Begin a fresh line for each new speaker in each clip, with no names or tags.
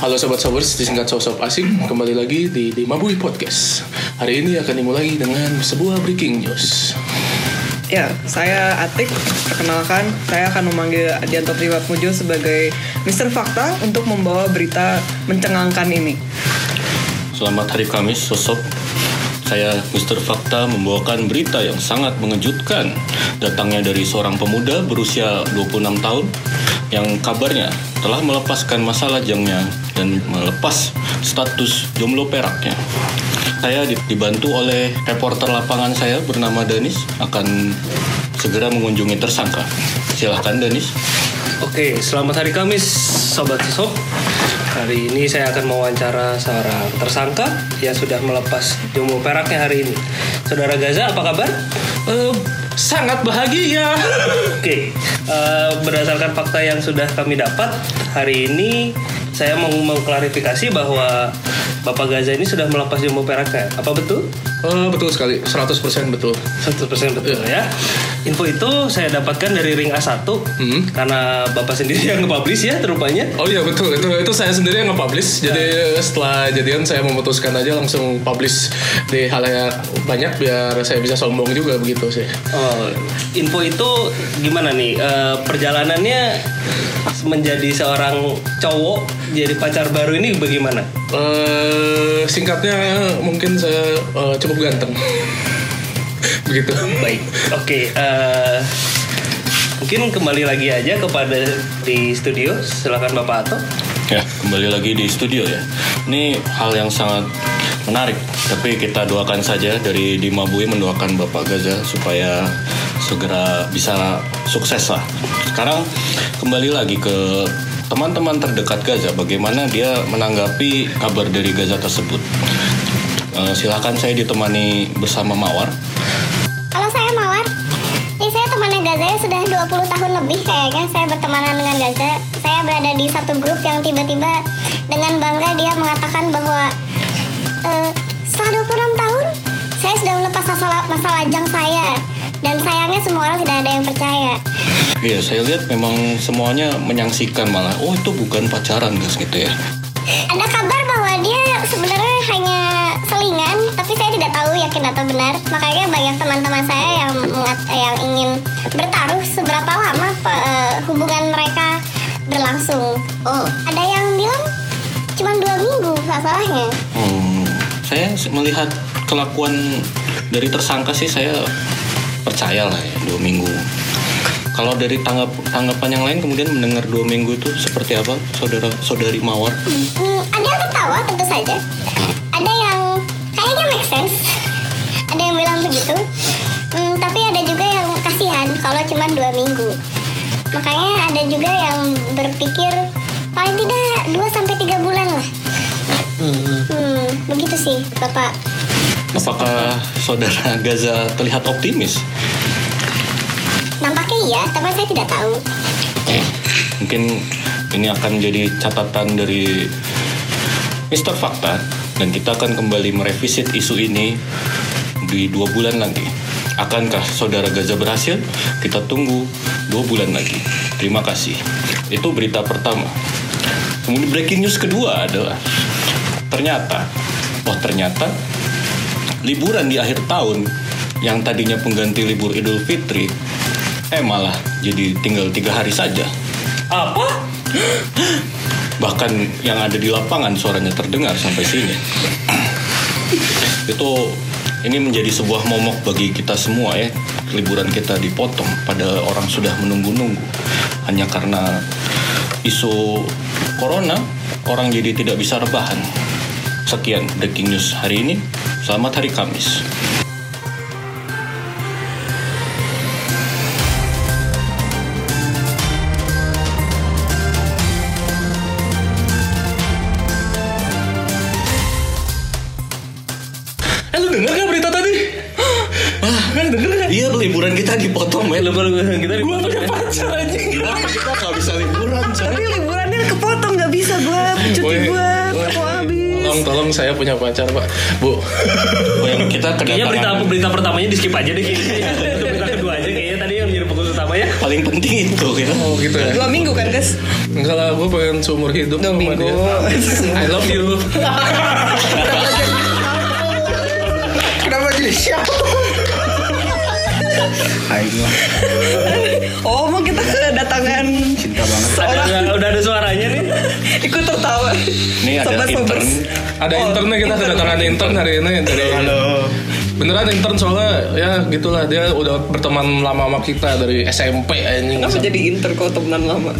Halo sobat sobers, disingkat sosok asing, kembali lagi di Dimabui Podcast. Hari ini akan dimulai dengan sebuah breaking news.
Ya, saya Atik. Perkenalkan, saya akan memanggil Adianto Triwatmojo sebagai Mr. Fakta untuk membawa berita mencengangkan ini.
Selamat hari Kamis, sosok. Saya Mr. Fakta membawakan berita yang sangat mengejutkan. Datangnya dari seorang pemuda berusia 26 tahun yang kabarnya telah melepaskan masa lajangnya dan melepas status jomblo peraknya. Saya di- dibantu oleh reporter lapangan saya bernama Danis akan segera mengunjungi tersangka. Silahkan Danis.
Oke, selamat hari Kamis, Sobat Sesop. Hari ini saya akan mewawancara seorang tersangka yang sudah melepas jomblo peraknya hari ini. Saudara Gaza, apa kabar?
sangat bahagia.
Oke, eh, berdasarkan fakta yang sudah kami dapat, hari ini saya mau mengklarifikasi bahwa Bapak Gaza ini sudah melepas jomblo peraknya. Apa betul?
Oh, betul sekali, 100% betul.
100% betul ya. Info itu saya dapatkan dari Ring A1
Hmm.
karena Bapak sendiri yang nge-publish ya terupanya.
Oh iya betul, itu itu saya sendiri yang nge-publish. Jadi setelah jadian saya memutuskan aja langsung publish di hal yang banyak biar saya bisa sombong juga begitu sih.
Oh, info itu gimana nih Eh, perjalanannya menjadi seorang cowok jadi pacar baru ini bagaimana?
eh singkatnya mungkin saya eh, cukup ganteng. begitu.
Baik, oke. eh, mungkin kembali lagi aja kepada di studio. Silakan Bapak Ato.
Ya, kembali lagi di studio ya. Ini hal yang sangat menarik, tapi kita doakan saja dari Dimabui mendoakan Bapak Gaza supaya segera bisa sukses lah. Sekarang kembali lagi ke teman-teman terdekat Gaza, bagaimana dia menanggapi kabar dari Gaza tersebut. Eh, silahkan saya ditemani bersama Mawar.
Halo saya Mawar Ini saya temannya Gaza ya, sudah 20 tahun lebih kayaknya saya bertemanan dengan Gaza Saya berada di satu grup yang tiba-tiba dengan bangga dia mengatakan bahwa eh, Setelah 26 tahun saya sudah melepas masa, la- masa lajang saya Dan sayangnya semua orang tidak ada yang percaya
Iya, saya lihat memang semuanya menyaksikan malah, oh itu bukan pacaran guys gitu ya.
Ada kabar bahwa dia sebenarnya hanya selingan Tapi saya tidak tahu yakin atau benar Makanya banyak teman-teman saya yang, mengat- yang ingin bertaruh Seberapa lama pe- eh, hubungan mereka berlangsung Oh Ada yang bilang cuma dua minggu masalahnya
Hmm, saya melihat kelakuan dari tersangka sih saya percaya lah ya dua minggu. Kalau dari tanggap tanggapan yang lain kemudian mendengar dua minggu itu seperti apa saudara saudari mawar?
Hmm, ada yang ketawa tentu saja. Ada yang kayaknya make sense. Ada yang bilang begitu. Hmm, tapi ada juga yang kasihan kalau cuma dua minggu. Makanya ada juga yang berpikir paling tidak 2 sampai tiga bulan lah. Hmm, begitu sih bapak.
Apakah saudara Gaza terlihat optimis?
Nampaknya iya, tapi saya tidak tahu.
Mungkin ini akan jadi catatan dari Mr. Fakta dan kita akan kembali merevisit isu ini di dua bulan lagi. Akankah saudara Gaza berhasil? Kita tunggu dua bulan lagi. Terima kasih. Itu berita pertama. Kemudian breaking news kedua adalah ternyata, oh ternyata liburan di akhir tahun yang tadinya pengganti libur Idul Fitri, eh malah jadi tinggal tiga hari saja.
Apa?
Bahkan yang ada di lapangan suaranya terdengar sampai sini. Itu ini menjadi sebuah momok bagi kita semua ya. Liburan kita dipotong pada orang sudah menunggu-nunggu. Hanya karena isu corona, orang jadi tidak bisa rebahan. Sekian breaking news hari ini. Selamat hari Kamis.
Eh lu dengar gak berita tadi? Wah, kan denger gak?
Iya, liburan kita dipotong, men.
Lebar kita di
punya pacar anjing.
Kita nggak bisa liburan, coy.
Tapi liburannya kepotong, nggak bisa gue, cuti
Woi,
gue, mau habis.
Tolong tolong saya punya pacar pak, bu.
Oh, yang kita
Kayaknya Iya, berita
kedatangan
berita pertamanya di skip aja deh. Itu berita kedua aja kayaknya tadi yang menjadi fokus ya. utamanya.
paling penting itu ya.
Oh gitu ya.
Dua minggu kan guys?
Enggak lah, gue pengen seumur hidup
Dua
sama
minggu.
dia. I love you. Kenapa jadi siap?
Aing lah
Oh mau kita kedatangan
cinta banget.
seorang
Udah, udah ada suaranya nih.
ikut tertawa.
Ini ada
Sobat-sobat. Oh,
intern.
Ada internnya kita kedatangan intern hari ini dari
Halo.
Beneran intern soalnya ya gitulah dia udah berteman lama sama kita dari SMP anjing.
Kenapa jadi inter kok temenan lama?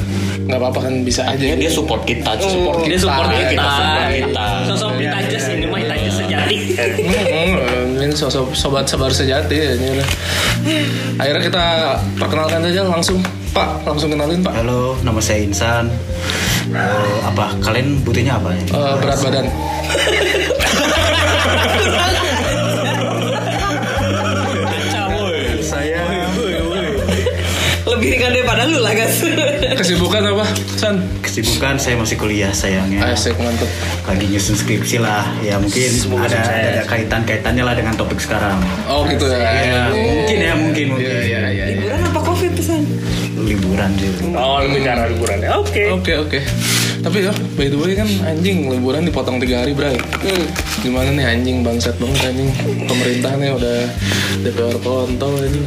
Enggak apa-apa kan bisa aja.
Ya, dia support kita, support kita.
Dia support kita.
kita support kita.
Sosok kita aja sih, ini mah kita aja sejati.
Hmm, ini sosok sobat sabar sejati ya, ini lah. Akhirnya kita perkenalkan aja langsung Pak, langsung kenalin Pak.
Halo, nama saya Insan. Eh, apa kalian butuhnya apa ya?
Eh, berat badan.
Saya
Lebih ringan daripada lu lah guys.
Kesibukan apa, San?
kesibukan saya masih kuliah sayangnya.
Asik mantep.
Lagi nyusun skripsi lah. Ya mungkin ada ada kaitan-kaitannya lah dengan topik sekarang.
Oh gitu ya.
Ya, mungkin ya, mungkin mungkin.
Iya, iya, iya.
Liburan apa covid pesan?
Liburan sih.
Oh, lebih karena liburan. Oke.
Oke oke. Tapi ya, by the way kan anjing liburan dipotong tiga hari bray.
Hmm.
Gimana nih anjing bangsat banget anjing. Pemerintah nih udah DPR kontol anjing.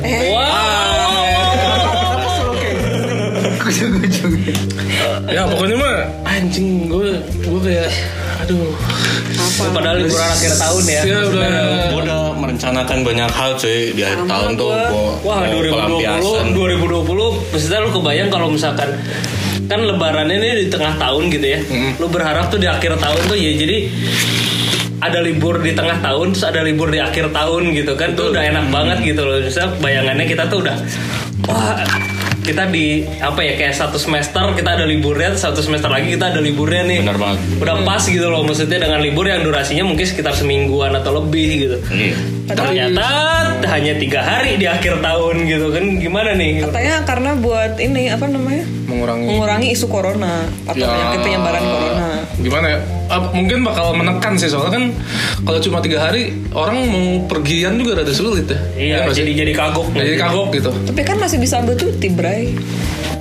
Ya pokoknya mah anjing gue gue kayak aduh.
Padahal liburan akhir tahun ya.
Ya udah.
Gue udah merencanakan banyak hal cuy di akhir tahun tuh gue
Wah, 2020, 2020 maksudnya lu kebayang kalau misalkan kan lebaran ini di tengah tahun gitu ya.
Mm-hmm.
Lu berharap tuh di akhir tahun tuh ya jadi ada libur di tengah tahun terus ada libur di akhir tahun gitu kan tuh udah enak
Mm-hmm.
banget gitu loh. Misalnya bayangannya kita tuh udah wah kita di apa ya kayak satu semester kita ada liburnya satu semester lagi kita ada liburnya nih
Benar banget.
udah pas gitu loh maksudnya dengan libur yang durasinya mungkin sekitar semingguan atau lebih gitu
Iya.
ternyata hanya tiga hari di akhir tahun gitu kan gimana nih
Katanya karena buat ini apa namanya?
Mengurangi.
Mengurangi isu corona atau
Ya,
penyakit penyebaran corona.
Gimana ya? Ah, mungkin bakal menekan sih soalnya kan kalau cuma tiga hari orang mau pergian juga rada sulit ya.
iya
nggak sih?
jadi jadi kagok
jadi kagok gitu.
Tapi kan masih bisa ambil cuti, Bray.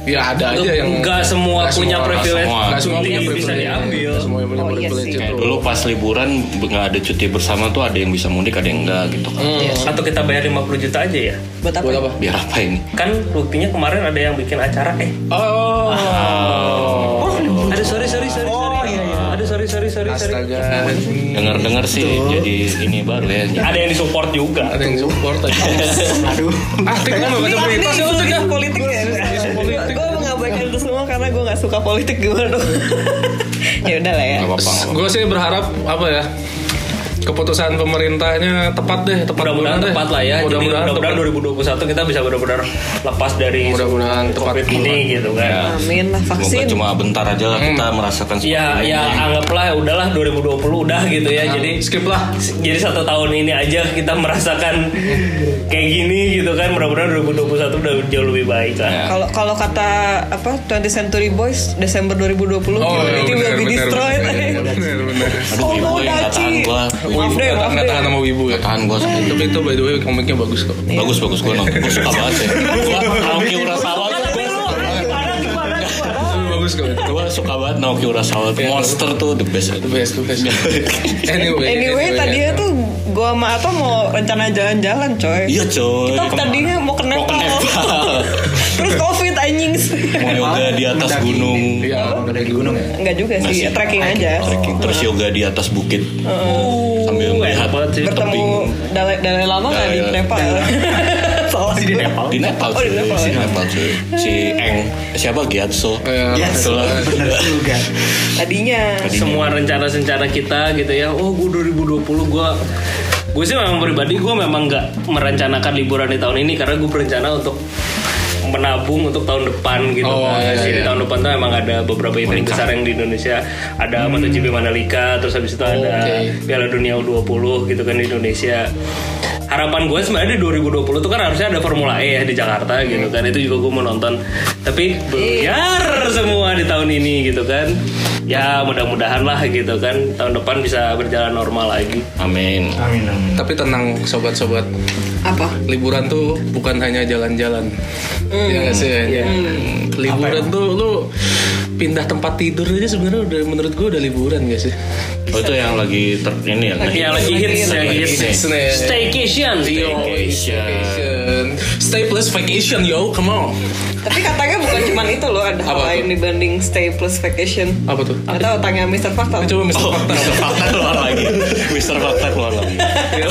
Ya ada aja yang
enggak semua
nggak
punya
semua,
privilege
semua.
Nggak semua punya
Bisa
privilege.
diambil.
Nggak semua punya
Oh, iya
privilege
sih.
Gitu.
itu.
Dulu pas liburan nggak ada cuti bersama tuh ada yang bisa mudik ada yang enggak gitu kan.
atau kita bayar 50 juta aja ya
Buat apa?
Buat apa?
Biar apa ini?
kan buktinya kemarin ada yang bikin acara eh
Oh.
Ah,
ada sorry sorry sorry sorry
iya,
ada sorry sorry sorry sorry
Astaga.
Dengar-dengar sih jadi ini baru ya.
ada yang disupport juga
Ada yang support aja.
Aduh.
ah, Tik, lu nggak baca
Ini
berita sih
isu,
lu, Tik, ya?
isu politik ya. Gue mengabaikan itu semua karena gue nggak suka politik gimana. ya udah lah ya.
Nggak apa-apa.
Gue sih berharap apa ya? Keputusan pemerintahnya tepat deh, tepat bulan
mudah-mudahan
deh.
tepat lah ya jadi
Mudah-mudahan
mudah-mudahan
tepat.
2021 kita bisa benar-benar lepas dari
Mudah-mudahan tepat. Iya.
covid ini gitu kan
Ya.
Amin lah
Semoga
vaksin.
cuma bentar aja lah kita merasakan seperti
Ya,
ini.
ya anggaplah udahlah 2020 udah gitu ya.
Iya.
Jadi
skip lah.
jadi satu tahun ini aja kita merasakan kayak gini gitu kan. Mudah-mudahan 2021 udah jauh lebih baik lah.
Kalau kalau kata apa 20th Century Boys Desember 2020
Oh,
humanity will be destroyed.
Iya, benar, benar.
Aduh,
Oh,
ibu
mau
yang nggak
daci.
tahan gua.
Maaf deh, maaf
Nggak
deh.
tahan sama ibu ya.
Tahan gua
Iya.
sendiri.
Tapi itu by the way komiknya bagus kok.
Bagus bagus gua nonton. Gua suka banget sih.
Iya.
Gua Naoki Urasawa. tuh gua suka banget.
Bagus kok.
Gua suka banget Naoki Urasawa.
Iya.
Monster tuh the best.
The best, the best. Anyway, ya.
Anyway, tadinya tuh gue sama Ato mau rencana jalan-jalan coy.
Iya coy.
Kita tadinya mau ke
Mau ke
Nepal.
Nepal.
Terus covid anjing.
Mau yoga di atas
Mendaki.
gunung.
Iya,
Udah dari gunung ya?
Enggak juga sih,
Masih.
trekking aja.
Trekking. Terus yoga di atas bukit. Sambil melihat
Bertemu
tebing.
Dalai, Dalai Lama nggak di
Dalai-
Nepal? Salah
Di
gue.
Nepal.
Di Nepal
Oh,
cuy.
di Nepal
Si
ya.
Nepal cuy. Si Eng. Siapa Gyatso?
Yes,
Betul.
bener juga.
Tadinya.
Semua rencana-rencana kita gitu ya. Oh, gue 2020 gua gue sih memang pribadi gue memang nggak merencanakan liburan di tahun ini karena gue berencana untuk menabung untuk tahun depan gitu
Oh,
kan.
iya,
Jadi
iya.
tahun depan tuh emang ada beberapa event besar yang di Indonesia ada MotoGP Mandalika terus habis itu ada
Oke.
Piala Dunia U20 gitu kan di Indonesia harapan gue sebenarnya di 2020 tuh kan harusnya ada Formula E ya di Jakarta gitu kan itu juga gue mau nonton tapi biar semua di tahun ini gitu kan ya mudah-mudahan lah gitu kan tahun depan bisa berjalan normal lagi
Amin.
Amin amin.
Tapi tenang sobat-sobat,
Apa?
liburan tuh bukan hanya jalan-jalan. Ya nggak sih. Ya. Liburan tuh lu pindah tempat tidur aja sebenarnya udah menurut gua udah liburan gak sih?
Oh itu yang lagi ter ini ya.
yang lagi hits yang lagi hits
hits
nih. Iya,
staycation
Staycation. Stay plus vacation yo, come on.
Tapi katanya bukan cuma itu loh, ada hal
Apa
lain
tuh?
dibanding stay plus vacation.
Apa tuh?
Atau tanya Mr. Fakta.
Coba Mr.
Oh,
Fakta.
Mister Fakta keluar lagi. Mister Fakta keluar lagi.
Iya.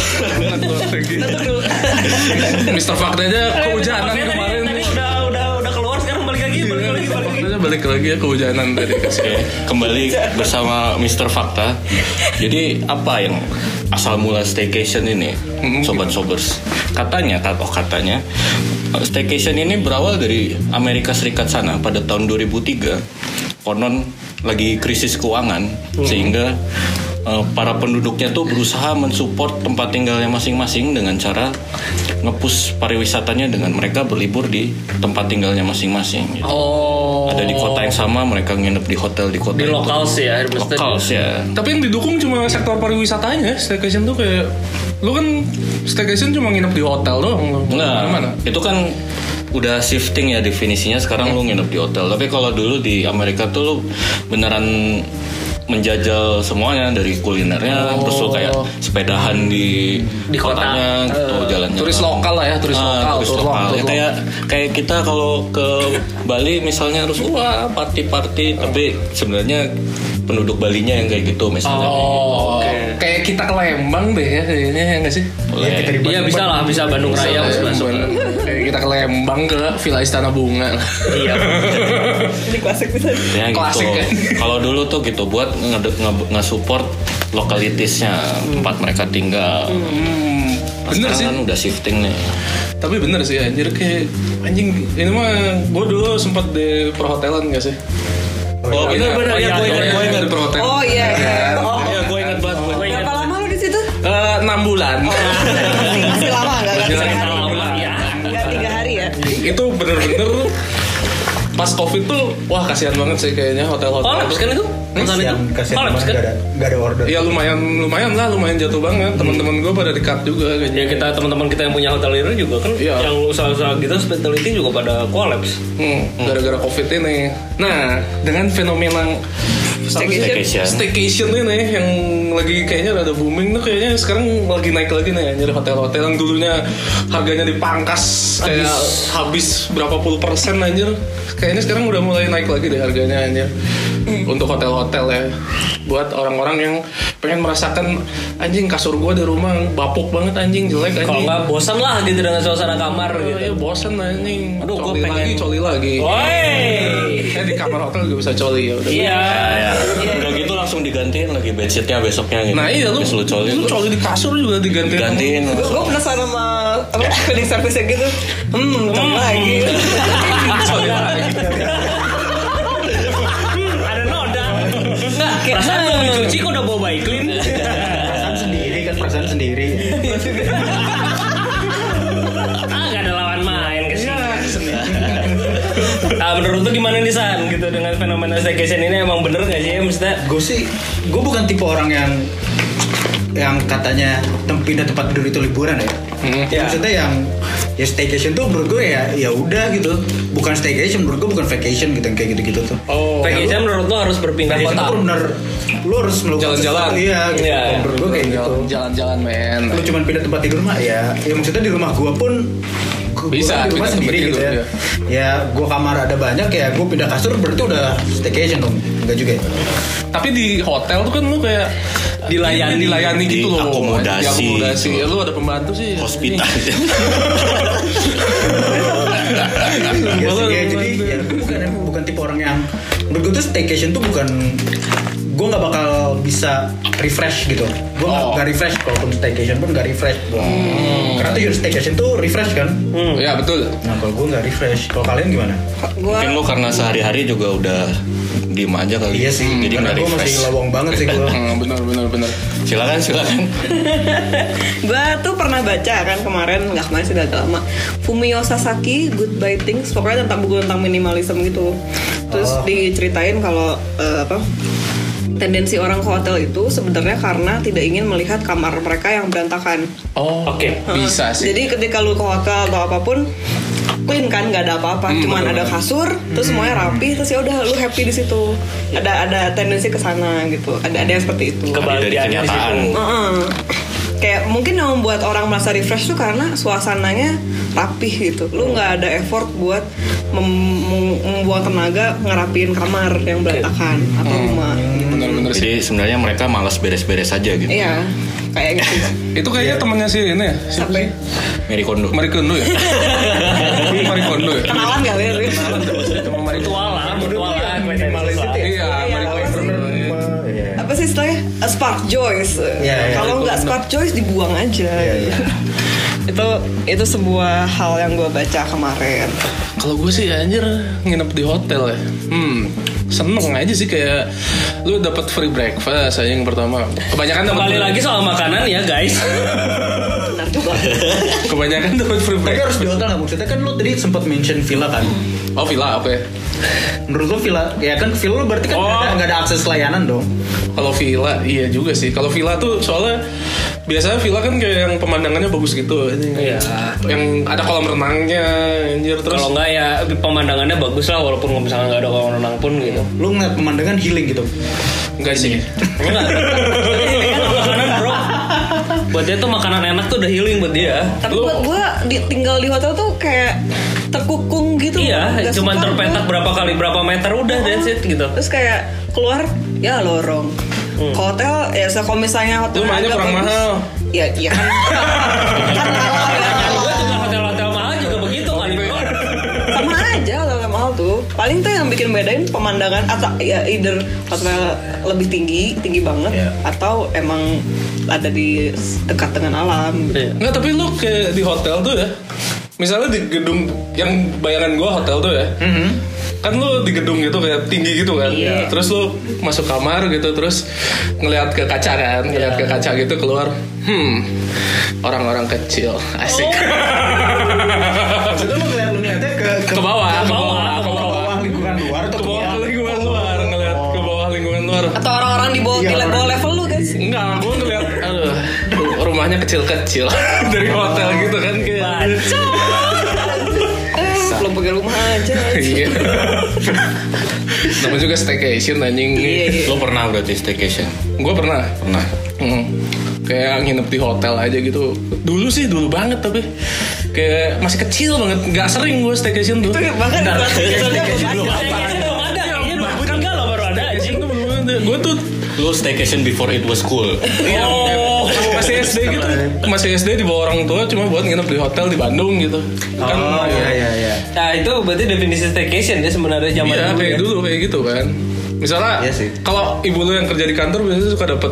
Mr. Fakta aja kehujanan
Makanya tadi-
kemarin. Iya,
tadi udah udah udah keluar sekarang balik lagi balik lagi balik lagi
Faktanya balik lagi ya kehujanan tadi kasih.
Oke, kembali bersama Mister Fakta. Jadi apa yang asal mula staycation ini, sobat sobers? Katanya, kat- oh katanya, eh, staycation ini berawal dari Amerika Serikat sana pada tahun 2003. Konon lagi krisis keuangan, sehingga eh, para penduduknya tuh berusaha mensupport tempat tinggalnya masing-masing dengan cara ngepus pariwisatanya dengan mereka berlibur di tempat tinggalnya masing-masing. gitu.
oh
Ada di kota yang sama, mereka nginep di hotel di kota
di
yang
lokal sih ya maksudnya
lokal sih ya
Tapi yang didukung cuma sektor pariwisatanya, ya, staycation tuh kayak lu kan staycation cuma nginep di hotel doang lu.
Enggak,
Gimana?
itu kan udah shifting ya definisinya sekarang lu nginep di hotel tapi kalau dulu di Amerika tuh lu beneran menjajal semuanya dari kulinernya terus
Oh.
lu kayak sepedahan di,
Di kota.
kotanya gitu jalan-jalan
Eh, Turis lokal lah ya, turis
Ah,
lokal,
turis
tur
lokal.
lokal, tur
Ya, kayak kayak kita kalau ke Bali misalnya harus wah party-party tapi sebenarnya penduduk Balinya yang kayak gitu misalnya
oh oke
Kayak kita ke Lembang deh ya kayaknya ya nggak sih?
Boleh.
Ya, kita di
iya bisa lah bisa Bandung Raya bisa Iya, masuk
Lembang. Kayak kita ke Lembang ke Villa Istana Bunga.
iya
Ini klasik bisa.
Ya,
Klasik,
gitu.
kan?
Kalau dulu tuh gitu buat nge- nge- nge-support lokalitisnya tempat mereka tinggal.
Hmm,
Nah,
bener
sekarang
sih.
kan udah shifting nih.
Tapi bener sih anjir kayak anjing ini mah gue dulu sempat di perhotelan gak sih?
Oh, bener bener ya gue ingat gue ingat.
di perhotelan.
Oh iya. iya. Oh.
Iya gue ingat banget. gua Oh, ingat.
Berapa lama lu di situ?
Eh, enam bulan.
iya.
Masih masih lama enggak enggak
Masih
tiga
lama,
hari.
ya
Enggak tiga hari ya.
itu bener-bener pas covid tuh wah kasihan banget sih kayaknya
Oh,
hotel-hotel.
kolaps kan itu Bukan
Kasihan,
itu?
kasihan
kolaps
teman
kan
gak ada, nggak ada order.
Iya lumayan lumayan lah lumayan jatuh banget teman-teman gue pada di cut juga
ya
kayaknya.
kita teman-teman kita yang punya hotel itu juga kan
Iya.
yang usaha-usaha kita hospitality juga pada kolaps
Hmm, gara-gara covid ini. Nah dengan fenomena
Staycation.
staycation ini yang lagi kayaknya rada booming tuh kayaknya sekarang lagi naik lagi nih anjir hotel-hotel yang dulunya harganya dipangkas kayak habis berapa puluh persen anjir kayaknya sekarang udah mulai naik lagi deh harganya anjir
Hmm.
untuk hotel-hotel ya buat orang-orang yang pengen merasakan anjing kasur gua di rumah bapuk banget anjing jelek anjing
kalau nggak bosan lah gitu dengan suasana kamar
Oh, iya,
gitu
bosen anjing
Aduh, gua
coli
pengen- Oh,
lagi coli lagi
Woi,
Saya Iya, di kamar hotel juga bisa coli ya udah
iya.
Ya, ya. Udah gitu langsung digantiin lagi bedsheetnya besoknya gitu.
Nah iya lu,
Terus lu colin.
lu coli di kasur juga diganti.
Gantiin.
Gue penasaran sama apa feeling service gitu. Hmm, coba lagi.
Ada noda. Enggak, perasaan belum dicuci kok udah bawa bayi clean.
Perasaan sendiri kan perasaan sendiri.
ah, gak ada lawan main ke sini. Ah, menurut tuh gimana nih San gitu dengan fenomena staycation ini emang bener gak sih ya maksudnya
gue sih gue bukan tipe orang yang yang katanya tem pindah tempat tidur itu liburan ya.
Hmm.
Ya, Maksudnya yang ya staycation tuh menurut gue ya ya udah gitu. Bukan staycation menurut gue bukan vacation gitu yang kayak gitu-gitu tuh.
Oh.
vacation menurut lo harus berpindah
Vacation
kota
tuh benar lu harus melakukan
Jalan-jalan.
sesuatu, Iya, gitu.
Iya.
Kalau Menurut gue kayak gitu.
Jalan-jalan men.
Lu cuman pindah tempat tidur mah ya. Ya maksudnya di rumah gue pun gua
Bisa,
kan di rumah
pindah
sendiri
tempat
gitu
tidur, iya.
ya. Ya gue kamar ada banyak ya gue pindah kasur berarti udah staycation dong. Enggak juga ya.
Tapi di hotel tuh kan lu kayak
Dilayani.
dilayani gitu loh.
Diakomodasi.
Diakomodasi. Ya, lu ada pembantu sih.
hospital.
ya,
Boleh,
sih, ya,
boleh.
jadi ya, gue bukan bukan tipe orang yang menurut gue tuh staycation tuh bukan gue nggak bakal bisa refresh gitu gue nggak
Oh.
nggak refresh kalaupun staycation pun nggak refresh gua.
Hmm.
karena tujuan staycation tuh refresh kan
Hmm. Ya betul.
nah kalau gue nggak refresh kalau kalian gimana
Gue
Mungkin lu karena sehari-hari juga udah diem aja kali.
iya sih
Oh, hmm, Jadi
karena
nggak
gue masih
refresh.
lowong banget sih gue
Hmm, benar benar benar.
Silakan silakan.
gue tuh pernah baca kan kemarin nggak kemarin sih udah agak lama Fumio Sasaki Goodbye Things pokoknya tentang buku tentang minimalisme gitu terus diceritain kalau eh, apa tendensi orang ke hotel itu sebenarnya karena tidak ingin melihat kamar mereka yang berantakan.
Oh,
Oke.
bisa sih.
Jadi ketika lu ke hotel atau apapun clean kan nggak ada apa-apa
Hmm,
cuman ada kasur terus semuanya rapi terus ya udah lu happy di situ ada ada tendensi ke sana gitu ada ada yang seperti itu
dari
kebahagiaannya di
kenyataan.
situ.
Heeh. kayak mungkin yang membuat orang merasa refresh tuh karena suasananya rapih gitu lu nggak ada effort buat mem- mem- membuang tenaga ngerapiin kamar yang berantakan atau
Hmm.
rumah gitu
Bener-bener sih.
Jadi sebenarnya mereka malas beres-beres aja gitu.
iya kayak gitu
Itu kayaknya temannya si ini ya. Si
sampai
Mary Kondo.
Marikondo ya. Marikondo ya.
kenalan gak sih
Sama Marie Kondo.
Mutualan, mutualan, mutualan.
Iya, Marie Kondo.
apa sih istilahnya A spark joys
Iya, iya,
kalau nggak spark joys dibuang aja itu itu sebuah hal yang gue baca kemarin
Kalau gue sih anjir nginep di hotel ya. Hmm, seneng aja sih kayak lu dapat free breakfast aja yang pertama. Kebanyakan dapat
Kembali lagi soal makanan ya guys.
benar juga
Kebanyakan dapat free
Tapi harus
breakfast.
di hotel nggak maksudnya kan lu tadi sempat mention villa kan.
Oh villa oke.
Menurut lu villa ya kan villa lu berarti kan
Oh.
nggak ada, nggak ada akses layanan dong.
Kalau villa iya juga sih. Kalau villa tuh soalnya biasanya villa kan kayak yang pemandangannya bagus gitu.
Iya.
Yang ada kolam renangnya anjir terus.
Kalau nggak ya pemandangannya bagus lah walaupun nggak- misalnya nggak ada orang renang pun gitu.
Lu ngeliat pemandangan healing gitu.
iya
Enggak sih.
Enggak. makanan bro. Buat dia tuh makanan enak tuh udah healing buat dia.
tapi
Lu-
buat gue tinggal di hotel tuh kayak terkukung gitu
Iya,
Nggak
cuman
suka
terpetak
gua.
berapa kali berapa meter udah that's it gitu.
terus kayak keluar ya lorong Ke hotel ya so, kalau misalnya hotel
Hmm. Lu mainnya
agak
kurang
bagus,
mahal.
ya iya kan kan kalau
Gue juga hotel-hotel mahal juga begitu kali bro.
Iya.
sama aja hotel yang mahal tuh paling tuh yang bikin bedain pemandangan atau ya either hotel lebih tinggi tinggi banget atau emang ada di dekat dengan alam gitu.
Iya.
Enggak, tapi lu kayak di hotel tuh ya. Misalnya di gedung yang bayangan gua hotel tuh ya. Kan lu di gedung gitu kayak tinggi gitu kan. Terus lu masuk kamar gitu terus ngelihat ke kaca kan, ngelihat ke kaca gitu keluar. Hmm. Orang-orang kecil. Asik.
Maksudnya lu ngeliat lu ngeliatnya ke
ke
ke,
bawah, ke bawah, ke
ke
bawah.
bawah lingkungan luar atau
Ke
ke
bawah lingkungan luar, ngelihat ke bawah lingkungan luar.
atau orang-orang di bawah di bawah level lu guys
Enggak, gua ngeliat aduh, rumahnya kecil-kecil dari hotel gitu kan kayak.
eh, belum pakai rumah aja
Iya. Nama juga staycation anjing.
Iya, iya.
Lo pernah berarti staycation?
Gue pernah.
Pernah.
Hmm. Kayak nginep di hotel aja gitu. Dulu sih dulu banget tapi kayak masih kecil banget. Gak sering gue staycation dulu.
Itu bahkan di kelas
Iya,
kecilnya belum ada.
Belum ada, iya belum kan enggak lah baru ada anjing.
Gue tuh
Lo staycation before it was cool.
Iya,
oh. masih SD gitu. Masih SD di bawah orang tua cuma buat nginep di hotel di Bandung gitu. Kan
Oh iya iya iya.
Nah itu berarti definisi staycation ya sebenarnya zaman
Iya
dulu.
kayak
ya.
dulu kayak gitu kan. Misalnya
Iya sih.
kalau ibu lu yang kerja di kantor biasanya suka dapat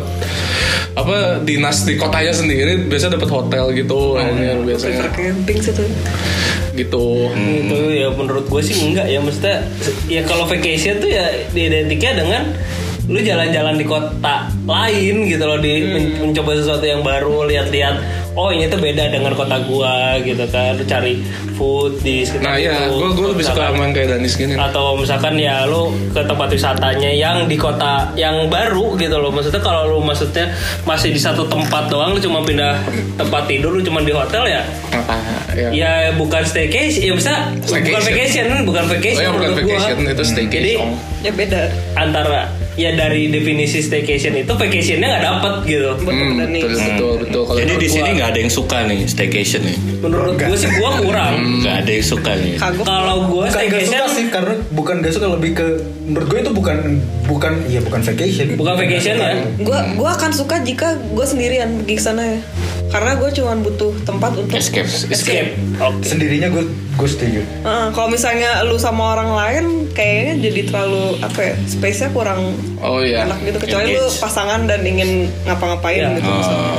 apa dinas di kotanya sendiri biasa dapat hotel gitu
Oh,
anjir,
iya.
biasanya
camping sih tuh
gitu.
Itu ya menurut gue sih enggak ya maksudnya ya kalau vacation tuh ya identiknya dengan lu jalan-jalan di kota lain gitu loh
Hmm.
di men- mencoba sesuatu yang baru lihat-lihat oh ini tuh beda dengan kota gua gitu kan lu cari food di sekitar
Nah iya,
itu.
gue gue lebih suka
Misalkan-
sama yang kayak Danis gini.
atau misalkan ya lu ke tempat wisatanya yang di kota yang baru gitu loh maksudnya kalau lu maksudnya masih di satu tempat doang lu cuma pindah tempat tidur lu cuma di hotel ya
Apa? Ya.
Ya bukan staycation, ya bisa bukan
Staycation.
vacation, bukan
Oh
vacation.
ya bukan
Iya, menurut gua.
vacation itu staycation.
Jadi
ya beda
antara ya dari definisi staycation itu vacationnya nggak dapet gitu.
Hmm,
betul
betul,
nih
betul betul. Kalau
Jadi di
menurut
sini nggak ada yang suka nih staycation nih.
Menurut gue sih gue kurang.
Nggak ada yang suka nih.
kagum
Kalau gue
Bukan gak suka sih
staycation
karena bukan gak suka lebih ke menurut gue itu bukan bukan iya bukan vacation.
bukan vacation ya.
gue gua akan suka jika gue sendirian pergi ke sana ya karena gue cuman butuh tempat untuk
Escape.
Escape. Oke.
Sendirinya gue gue setuju.
Heeh, kalau misalnya lu sama orang lain kayaknya jadi terlalu apa ya space-nya kurang
gua- Oh iya.
enak gitu kecuali lu
Engage.
pasangan dan ingin ngapa-ngapain
Iya.
gitu
Oh.
misalnya.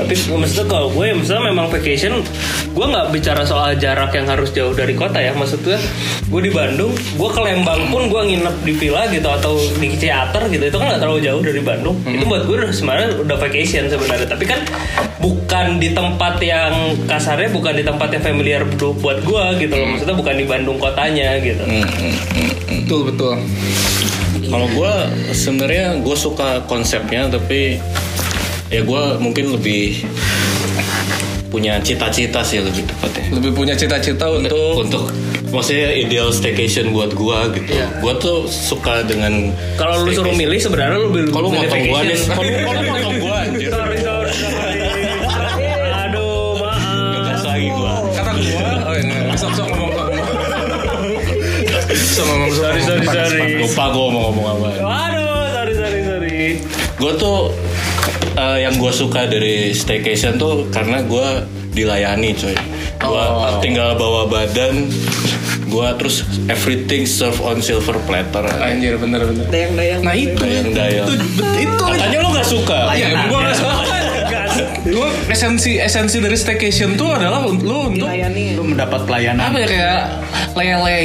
Tapi maksudnya kalau gue ya misalnya memang vacation Gue nggak bicara soal jarak yang harus jauh dari kota ya Maksud gue, gue di Bandung Gue ke Lembang pun gue nginep di villa gitu Atau di Ciater gitu Itu kan nggak terlalu jauh dari Bandung
Hmm.
Itu buat gue udah sebenarnya udah vacation sebenarnya Tapi kan bukan di tempat yang kasarnya Bukan di tempat yang familiar bu- buat
Hmm.
gue gitu loh Maksudnya bukan di Bandung kotanya gitu
Betul betul.
Kalau gue sebenarnya gue suka konsepnya tapi ya gue mungkin lebih punya cita-cita sih lebih tepatnya.
lebih punya cita-cita untuk
Untuk maksudnya ideal staycation buat gue gitu. Gue tuh suka dengan
Iya. Kalau lu suruh
staycation.
milih sebenarnya lu lebih
Kalau lu
milih
motong gua nih,
vacation.
kalau lu- kalau lu motong gua anjir.
Sorry, sorry, sorry. Aduh,
Ngegas
maaf.
lagi gua.
kata gue oh iya sok sok ngomong sok ngomong sok ngomong sok
Sorry,
ngomong.
sorry,
Panas,
sorry.
Lupa gua mau ngomong apa.
Waduh, sorry, sorry, sorry.
Gue tuh eh, yang gue suka dari staycation tuh karena gue dilayani coy. Gue
Oh.
tinggal bawa badan, gue terus everything serve on silver platter.
panas. anjir bener bener
Dayang-dayang.
nah itu
Dayang dayang.
itu itu
Katanya lo gak suka.
Iya,
Iya,
ya gue nggak suka
Gas.
gue esensi esensi dari staycation tuh adalah lu untuk
Dilayani.
lu mendapat pelayanan
apa ya kayak leye-leye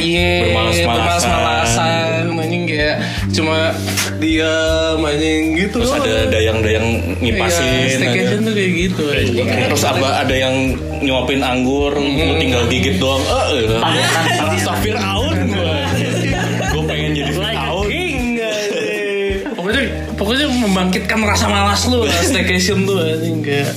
Bermalas-malasan.
bermalas-malasan anjing kayak cuma diam anjing gitu
Terus
loh.
ada dayang-dayang
Iya,
ngipasin. Iya,
staycation iya.
ada-
tuh kayak gitu anjing.
Terus aba ada yang nyuapin anggur,
Mhm.
lu tinggal gigit doang. Eh, eh. Rasa Fir'aun gue. Gue pengen jadi
Like a
Fir'aun.
king. anjing.
pokoknya pokoknya membangkitkan rasa malas lu lah, staycation tuh anjing kayak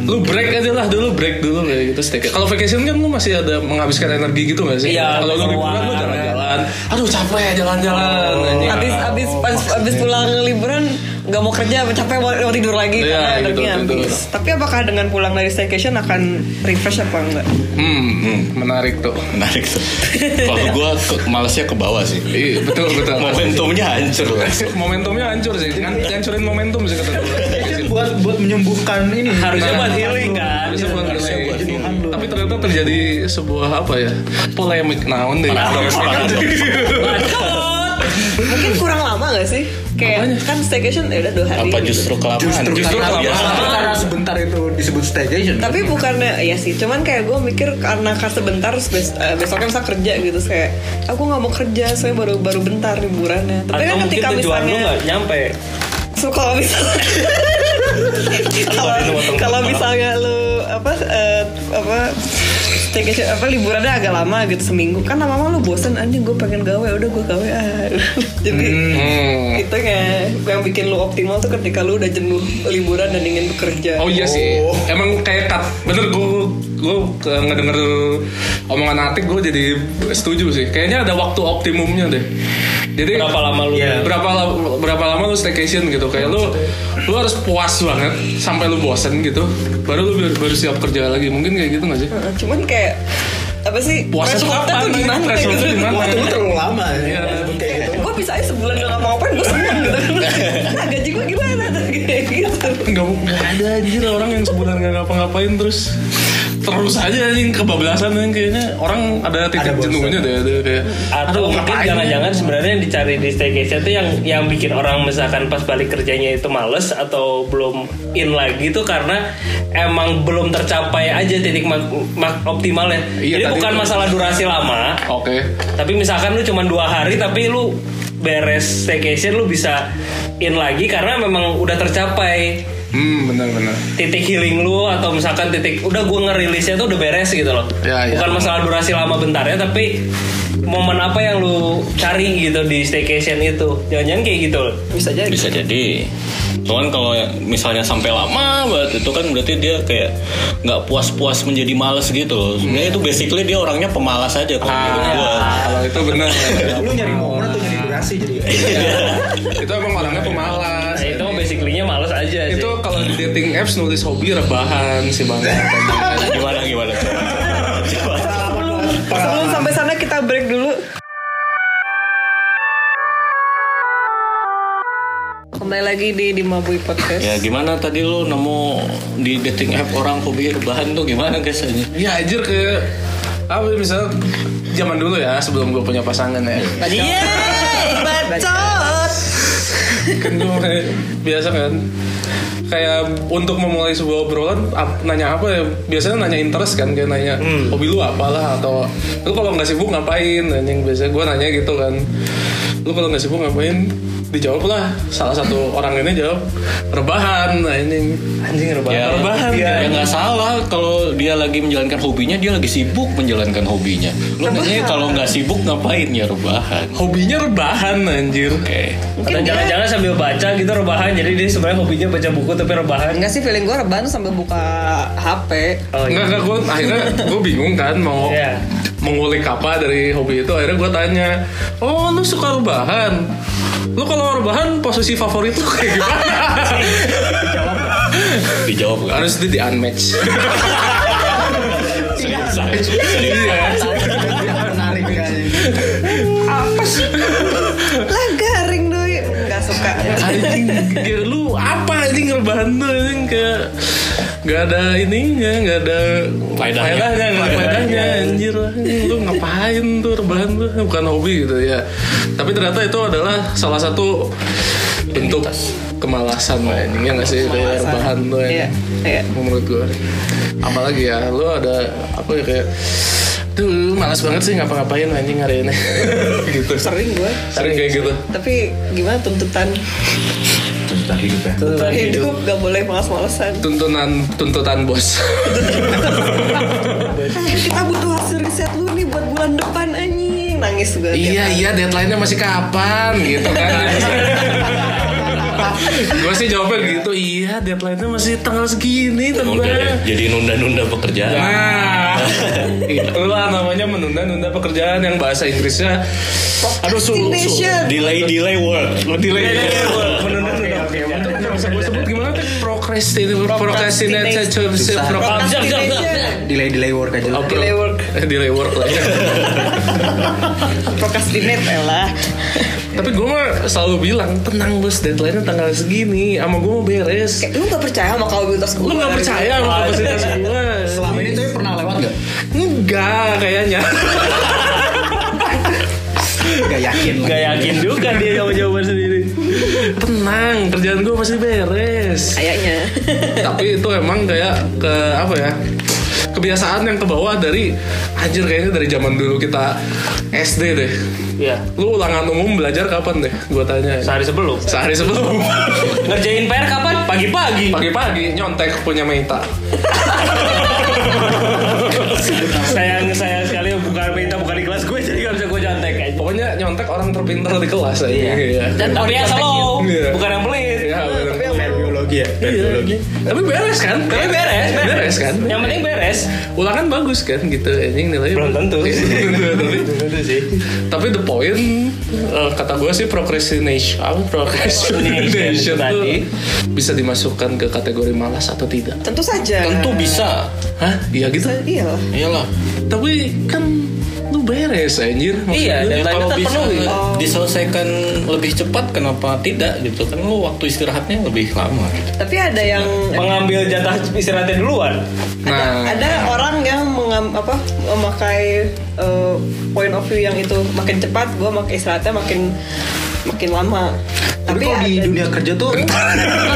lu break aja lah dulu break dulu kayak gitu staycation kalau vacation kan lu masih ada menghabiskan energi gitu gak sih
Iya,
kalau lu liburan lu
keluar.
jalan-jalan aduh capek jalan-jalan
Oh.
anjing.
Iya.
Abis abis abis, abis pulang liburan nggak mau kerja capek mau, mau tidur
Iya,
lagi karena
gitu,
energinya
gitu.
habis.
Tapi apakah dengan pulang dari staycation akan refresh apa enggak?
hmm, hmm, menarik tuh
Menarik tuh. Kalau gue malesnya ke bawah sih.
Iya, betul betul
Momentumnya hancur lah.
momentumnya hancur sih kan hancurin momentum sih kata gue
buat buat menyembuhkan ini
Harusnya buat healing kan.
Harusnya Iya, buat
Harusnya
delay.
buat delay.
tapi ternyata terjadi sebuah apa ya polemik Nah, naon deh
Paradoks, paradoks.
Mungkin kurang lama gak sih? Kayak kan staycation ya udah dua hari.
Apa Iya. justru kelamaan? Iya.
justru,
Justru
karena,
kelamaan.
justru karena sebentar itu disebut staycation
Tapi bukannya ya sih, cuman kayak gue mikir karena kan sebentar terus bes- eh, besoknya bisa kerja gitu saya. Aku nggak mau kerja, saya baru baru bentar liburannya. Tapi
Atau
kan
mungkin
ketika
tujuan lu
misalnya
nggak nyampe.
So, kalau misalnya kalau kalau misalnya lu apa eh, apa staycation apa liburannya agak lama gitu seminggu kan lama-lama lu bosen anjing gue pengen gawe udah gue gawe ah." jadi
Hmm.
itu kayak yang bikin lu optimal tuh ketika lu udah jenuh liburan dan ingin bekerja
Oh iya sih, emang kayak cut. Bener gue gue ngedenger omongan Atik gue jadi setuju sih. Kayaknya ada waktu optimumnya deh. Jadi
Berapa lama lu?
Iya.
berapa la- berapa lama lu staycation gitu? Kayak lu lu harus puas banget sampai lu bosen gitu. Baru lu baru, baru siap kerja lagi. Mungkin kayak gitu gak sih?
Nah, cuman kayak apa sih
Puasa
threshold-nya
kapan?
tuh gimana
Threshold-nya
gitu
gimana?
waktu lu terlalu lama
Iya.
gue bisa aja sebulan gak ngapa-ngapain gue seneng gitu nah gaji gue gimana tuh kayak gitu
Nggak, nggak ada anjir orang yang sebulan nggak ngapa-ngapain terus terus aja anjing kebablasan anjing. kayaknya orang ada titik
Ada bosen.
jenuhnya deh ada kayak
Atau
"Aduh,
mungkin
ngapain?"
jangan-jangan sebenarnya yang dicari di staycation itu yang yang bikin orang misalkan pas balik kerjanya itu males atau belum in lagi itu karena emang belum tercapai aja titik mak- mak- optimalnya.
Iya,
Jadi
tadi
bukan
itu.
masalah durasi lama,
oke
tapi misalkan lu cuma dua hari tapi lu beres staycation lu bisa in lagi karena memang udah tercapai
hmm benar-benar
titik healing lu atau misalkan titik udah gue ngerilisnya tuh udah beres gitu loh
Ya, ya.
bukan masalah durasi lama bentar ya tapi momen apa yang lu cari gitu di staycation itu jangan-jangan kayak gitu loh
bisa jadi
Bisa jadi. Cuman kalau ya- misalnya sampai lama banget itu kan berarti dia kayak nggak puas-puas menjadi males gitu loh. Sebenarnya itu basically dia orangnya pemalas aja kalau menurut
Iya.
gua.
kalau itu benar
lu nyari momen atau nyari durasi jadi
itu emang orangnya pemalas
nah, itu basically nya males aja sih
itu kalau di dating apps nulis hobi rebahan sih bang
Gimana gimana?
sebelum sampai sana kita break dulu kembali lagi di Dimabui Podcast
Ya gimana tadi lu nemu di dating app orang hobi rebahan tuh gimana guys aja?
ya anjir ke apa misalnya zaman dulu ya sebelum gue punya pasangan ya
Yeay, bacot.
kan gue kayak biasa kan kayak untuk memulai sebuah obrolan ap- nanya apa ya biasanya nanya interest kan kayak nanya hobi lu apalah atau Nah, lu kalau nggak sibuk ngapain anjing biasanya gue nanya gitu kan lu kalau nggak sibuk ngapain dijawab lah salah satu orang ini jawab rebahan nah ini anjing rebahan
Ya,
rebahan
ya
kan?
nggak salah kalau dia lagi menjalankan hobinya, dia lagi sibuk menjalankan hobinya. Lo nanya kalau nggak sibuk ngapain ya rebahan?
hobinya rebahan anjir
Oke.
Atau jangan-jangan sambil baca gitu rebahan jadi dia sebenarnya hobinya baca buku tapi rebahan.
Enggak sih feeling gue rebahan tuh sambil buka HP.
Enggak,
Oh, iya.
enggak, gue akhirnya gue bingung kan mau
Iya.
mengulik apa dari hobi itu Akhirnya gue tanya, oh lu suka rebahan? Lu kalau rebahan posisi favorit lu kayak gimana?
Dijawab kan?
Harus itu di unmatch Iya.
Serius, serius.
menarik kayaknya.
Apa sih? lah garing doi. Enggak suka.
Anjing, kayak lu apa anjing rebahan tuh anjing kayak Gak ada ininya, gak ada
Faedahnya.
faedahnya, nggak ada faedahnya anjir anjing, Lu ngapain tuh rebahan tuh, bukan hobi gitu ya Tapi ternyata itu adalah salah satu bentuk kemalasan anjing Ya nggak sih, kayak rebahan tuh
Iya.
anjing
Iya.
menurut gue apalagi ya lu ada apa ya kayak tuh malas banget sih ngapa-ngapain anjing hari ini gitu
Sering gue.
sering kayak gitu
Tapi gimana tuntutan
tuntutan hidup ya
tuntutan
Gitu.
hidup gak boleh malas-malasan.
tuntunan tuntutan bos
Kita butuh hasil riset lu nih buat bulan depan anjing. Nangis gue.
iya iya deadline-nya masih kapan gitu kan gue sih jawabnya gitu iya deadline-nya masih tanggal segini
Udah deh,
tebak
jadi nunda-nunda pekerjaan.
Nah, itulah namanya menunda-nunda pekerjaan yang bahasa Inggrisnya aduh sulit.
Delay delay work.
Lo delay.
Menunda-nunda.
Gue sebut gimana tuh? Procrastinate. Procrastinate. Procrastinate.
Jangan, jangan, jangan.
delay delay work aja lah.
Delay work. Delay work lah ya.
Procrastinate lah.
Tapi gue mah selalu bilang tenang bos deadline-nya tanggal segini, sama gue mau beres.
Kayak lu gak percaya sama kapabilitas gue.
Lu nggak percaya sama kapasitas gue?
selama ini tuh pernah lewat nggak
Enggak kayaknya.
nggak yakin lah.
Gak yakin juga dia sama jawaban sendiri.
Tenang, kerjaan gue pasti beres.
Kayaknya.
tapi itu emang kayak ke apa ya kebiasaan yang kebawa dari anjir kayaknya dari zaman dulu kita SD deh
Iya.
lu ulangan umum belajar kapan deh gua tanya
Sehari sebelum.
sehari sebelum
Ngerjain PR kapan? Pagi-pagi.
pagi-pagi nyontek punya Meita
Sayang sayang sekali bukan minta bukan di kelas gue jadi gak bisa gue jantek aja.
pokoknya nyontek orang terpintar di kelas aja iya.
Tapi yang slow,
Iya.
bukan yang pelit.
Iya, bener.
Fair biologi ya Fair
Iya.
biologi
tapi beres kan
Tapi beres, beres,
beres kan
Yang penting beres.
ulangan bagus kan gitu anjing nilai
Belum tentu.
tapi
Itu sih.
tapi the point eh, kata gue sih procrastination apa procrastination
Procrastination
tuh
tadi.
bisa dimasukkan ke kategori malas atau tidak
Tentu saja.
Tentu bisa.
hah iya gitu
Iya lah.
Iyalah.
tapi kan lu beres anjir
Iya,
Maksud
dan
gua,
kalau bisa
terpenuhi.
diselesaikan lebih cepat kenapa tidak gitu kan lu waktu istirahatnya lebih lama gitu.
Tapi ada yang
Pengambil jatah istirahatnya duluan.
nah
ada orang yang mengam, apa memakai eh, point of view yang itu makin cepat gue makin istirahatnya makin makin lama tapi
tapi kalau
ada,
di dunia kerja tuh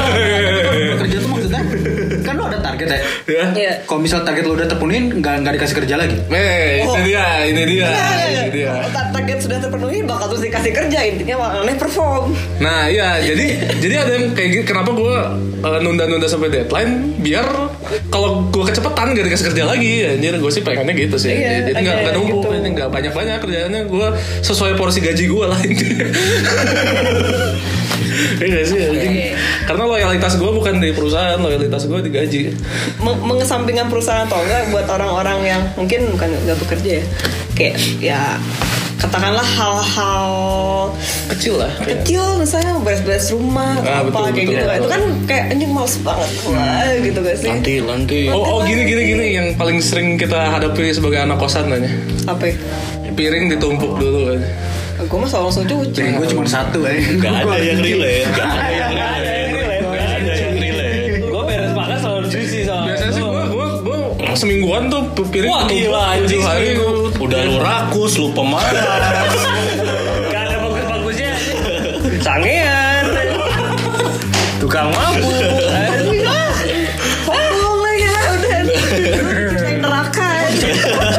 kerja tuh maksudnya kan lo ada target ya
ya
Iya.
kalau misal target lo udah terpenuhin nggak nggak dikasih kerja lagi
eh itu dia ini dia
Iya, iya,
ini
iya.
dia
Kalau tar- target sudah terpenuhi bakal terus dikasih kerja intinya malah perform
Nah iya jadi jadi ada yang kayak gini kenapa gue nunda-nunda sampai deadline biar kalau gue kecepetan gak dikasih kerja lagi anjir gue sih pengennya gitu sih
Iya,
jadi nggak
ada
nggak numpuk
gitu.
ini nggak banyak-banyak kerjaannya gue sesuai porsi gaji gue lah intinya. Iya nggak sih anjing? Karena loyalitas gue bukan di perusahaan, loyalitas gue di gaji.
Meng- mengesampingkan perusahaan atau enggak buat orang-orang yang mungkin bukan nggak bekerja ya kayak ya katakanlah hal-hal
Kecil lah.
kecil misalnya beres-beres rumah atau
Iya. Ah,
apa
betul,
kayak
betul. Hmm.
gitu itu kan kayak anjing males banget wah gitu gak sih
Nanti nanti
Oh, oh gini gini gini yang paling sering kita hadapi sebagai anak kosan nanya
apa ya?
piring ditumpuk dulu aja.
gue mah selalu langsung
Iya.
cuci
jadi gue cuma satu ya
nggak ada yang relate. Nggak ada yang
Ada yang relate, nggak ada yang relate. Gue beres makan selalu cuci soalnya.
Biasanya sih gue gue gue semingguan tuh piring
Wah,
ketumpuk tujuh
gila, anjing,
hari
seminggu.
gua-
Udah lu rakus, lu pemalas.
Gak ada bagus-bagusnya. Sangean. Tukang mabuk.
Ah, bohong iya. lah ya udah Kayak neraka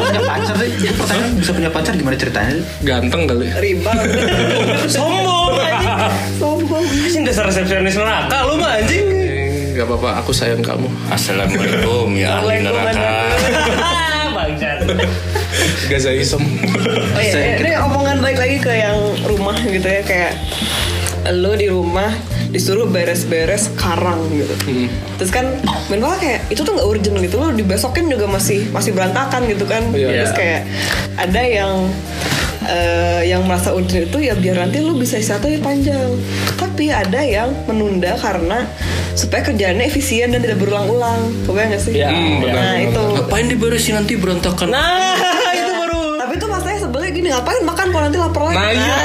punya pacar sih Gua pertanyaan bisa punya pacar gimana ceritanya
ganteng kali.
riba
Sombong.
so
dasar resepsionis
Ah,
neraka lu mah anjing.
Gak apa-apa, aku sayang kamu.
Assalamualaikum ya ahli neraka.
Ah.
Bangsat.
Gazaism.
Oh iya, iya. ini omongan balik lagi ke yang rumah gitu ya kayak lo di rumah disuruh beres-beres karang gitu.
Hmm.
Terus kan menurut kayak itu tuh nggak urgent gitu lo dibesokin juga masih masih berantakan gitu kan.
Oh,
Iya.
Terus kayak ada yang eh, yang merasa urgent itu ya biar nanti lo bisa istirahat lebih panjang. Tapi ada yang menunda karena supaya kerjaannya efisien dan tidak berulang-ulang. Kebayang gak sih? nah,
Iya,
Hmm, benar, benar,
itu.
Ngapain diberesin nanti berantakan?
Nah, itu baru.
Tapi itu masalahnya sebelah gini ngapain makan kalau nanti lapar lagi.
Nah, iya.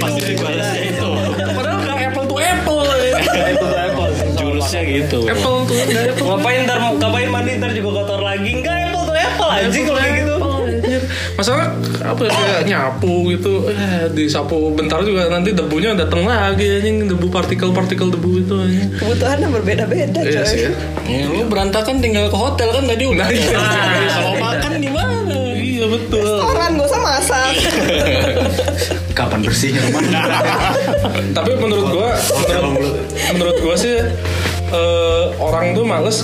Pasti dibalasnya itu.
Padahal gak apple to apple.
Jurusnya gitu.
Apple to apple.
Ngapain ntar ngapain mandi ntar juga kotor lagi? Enggak apple tuh apple anjing kalau kayak gitu.
Masalah apa ya, kayak nyapu gitu eh, disapu bentar juga nanti debunya datang lagi anjing debu partikel-partikel debu itu anjing.
Kebutuhannya berbeda-beda coy.
Iya sih. ya.
Ya, lu berantakan tinggal ke hotel kan tadi udah.
Nah, iya.
Kalau makan di mana?
Iya betul.
Orang gak usah masak.
Kapan bersihnya rumah?
Tapi menurut gua menurut, menurut gua sih eh, orang tuh males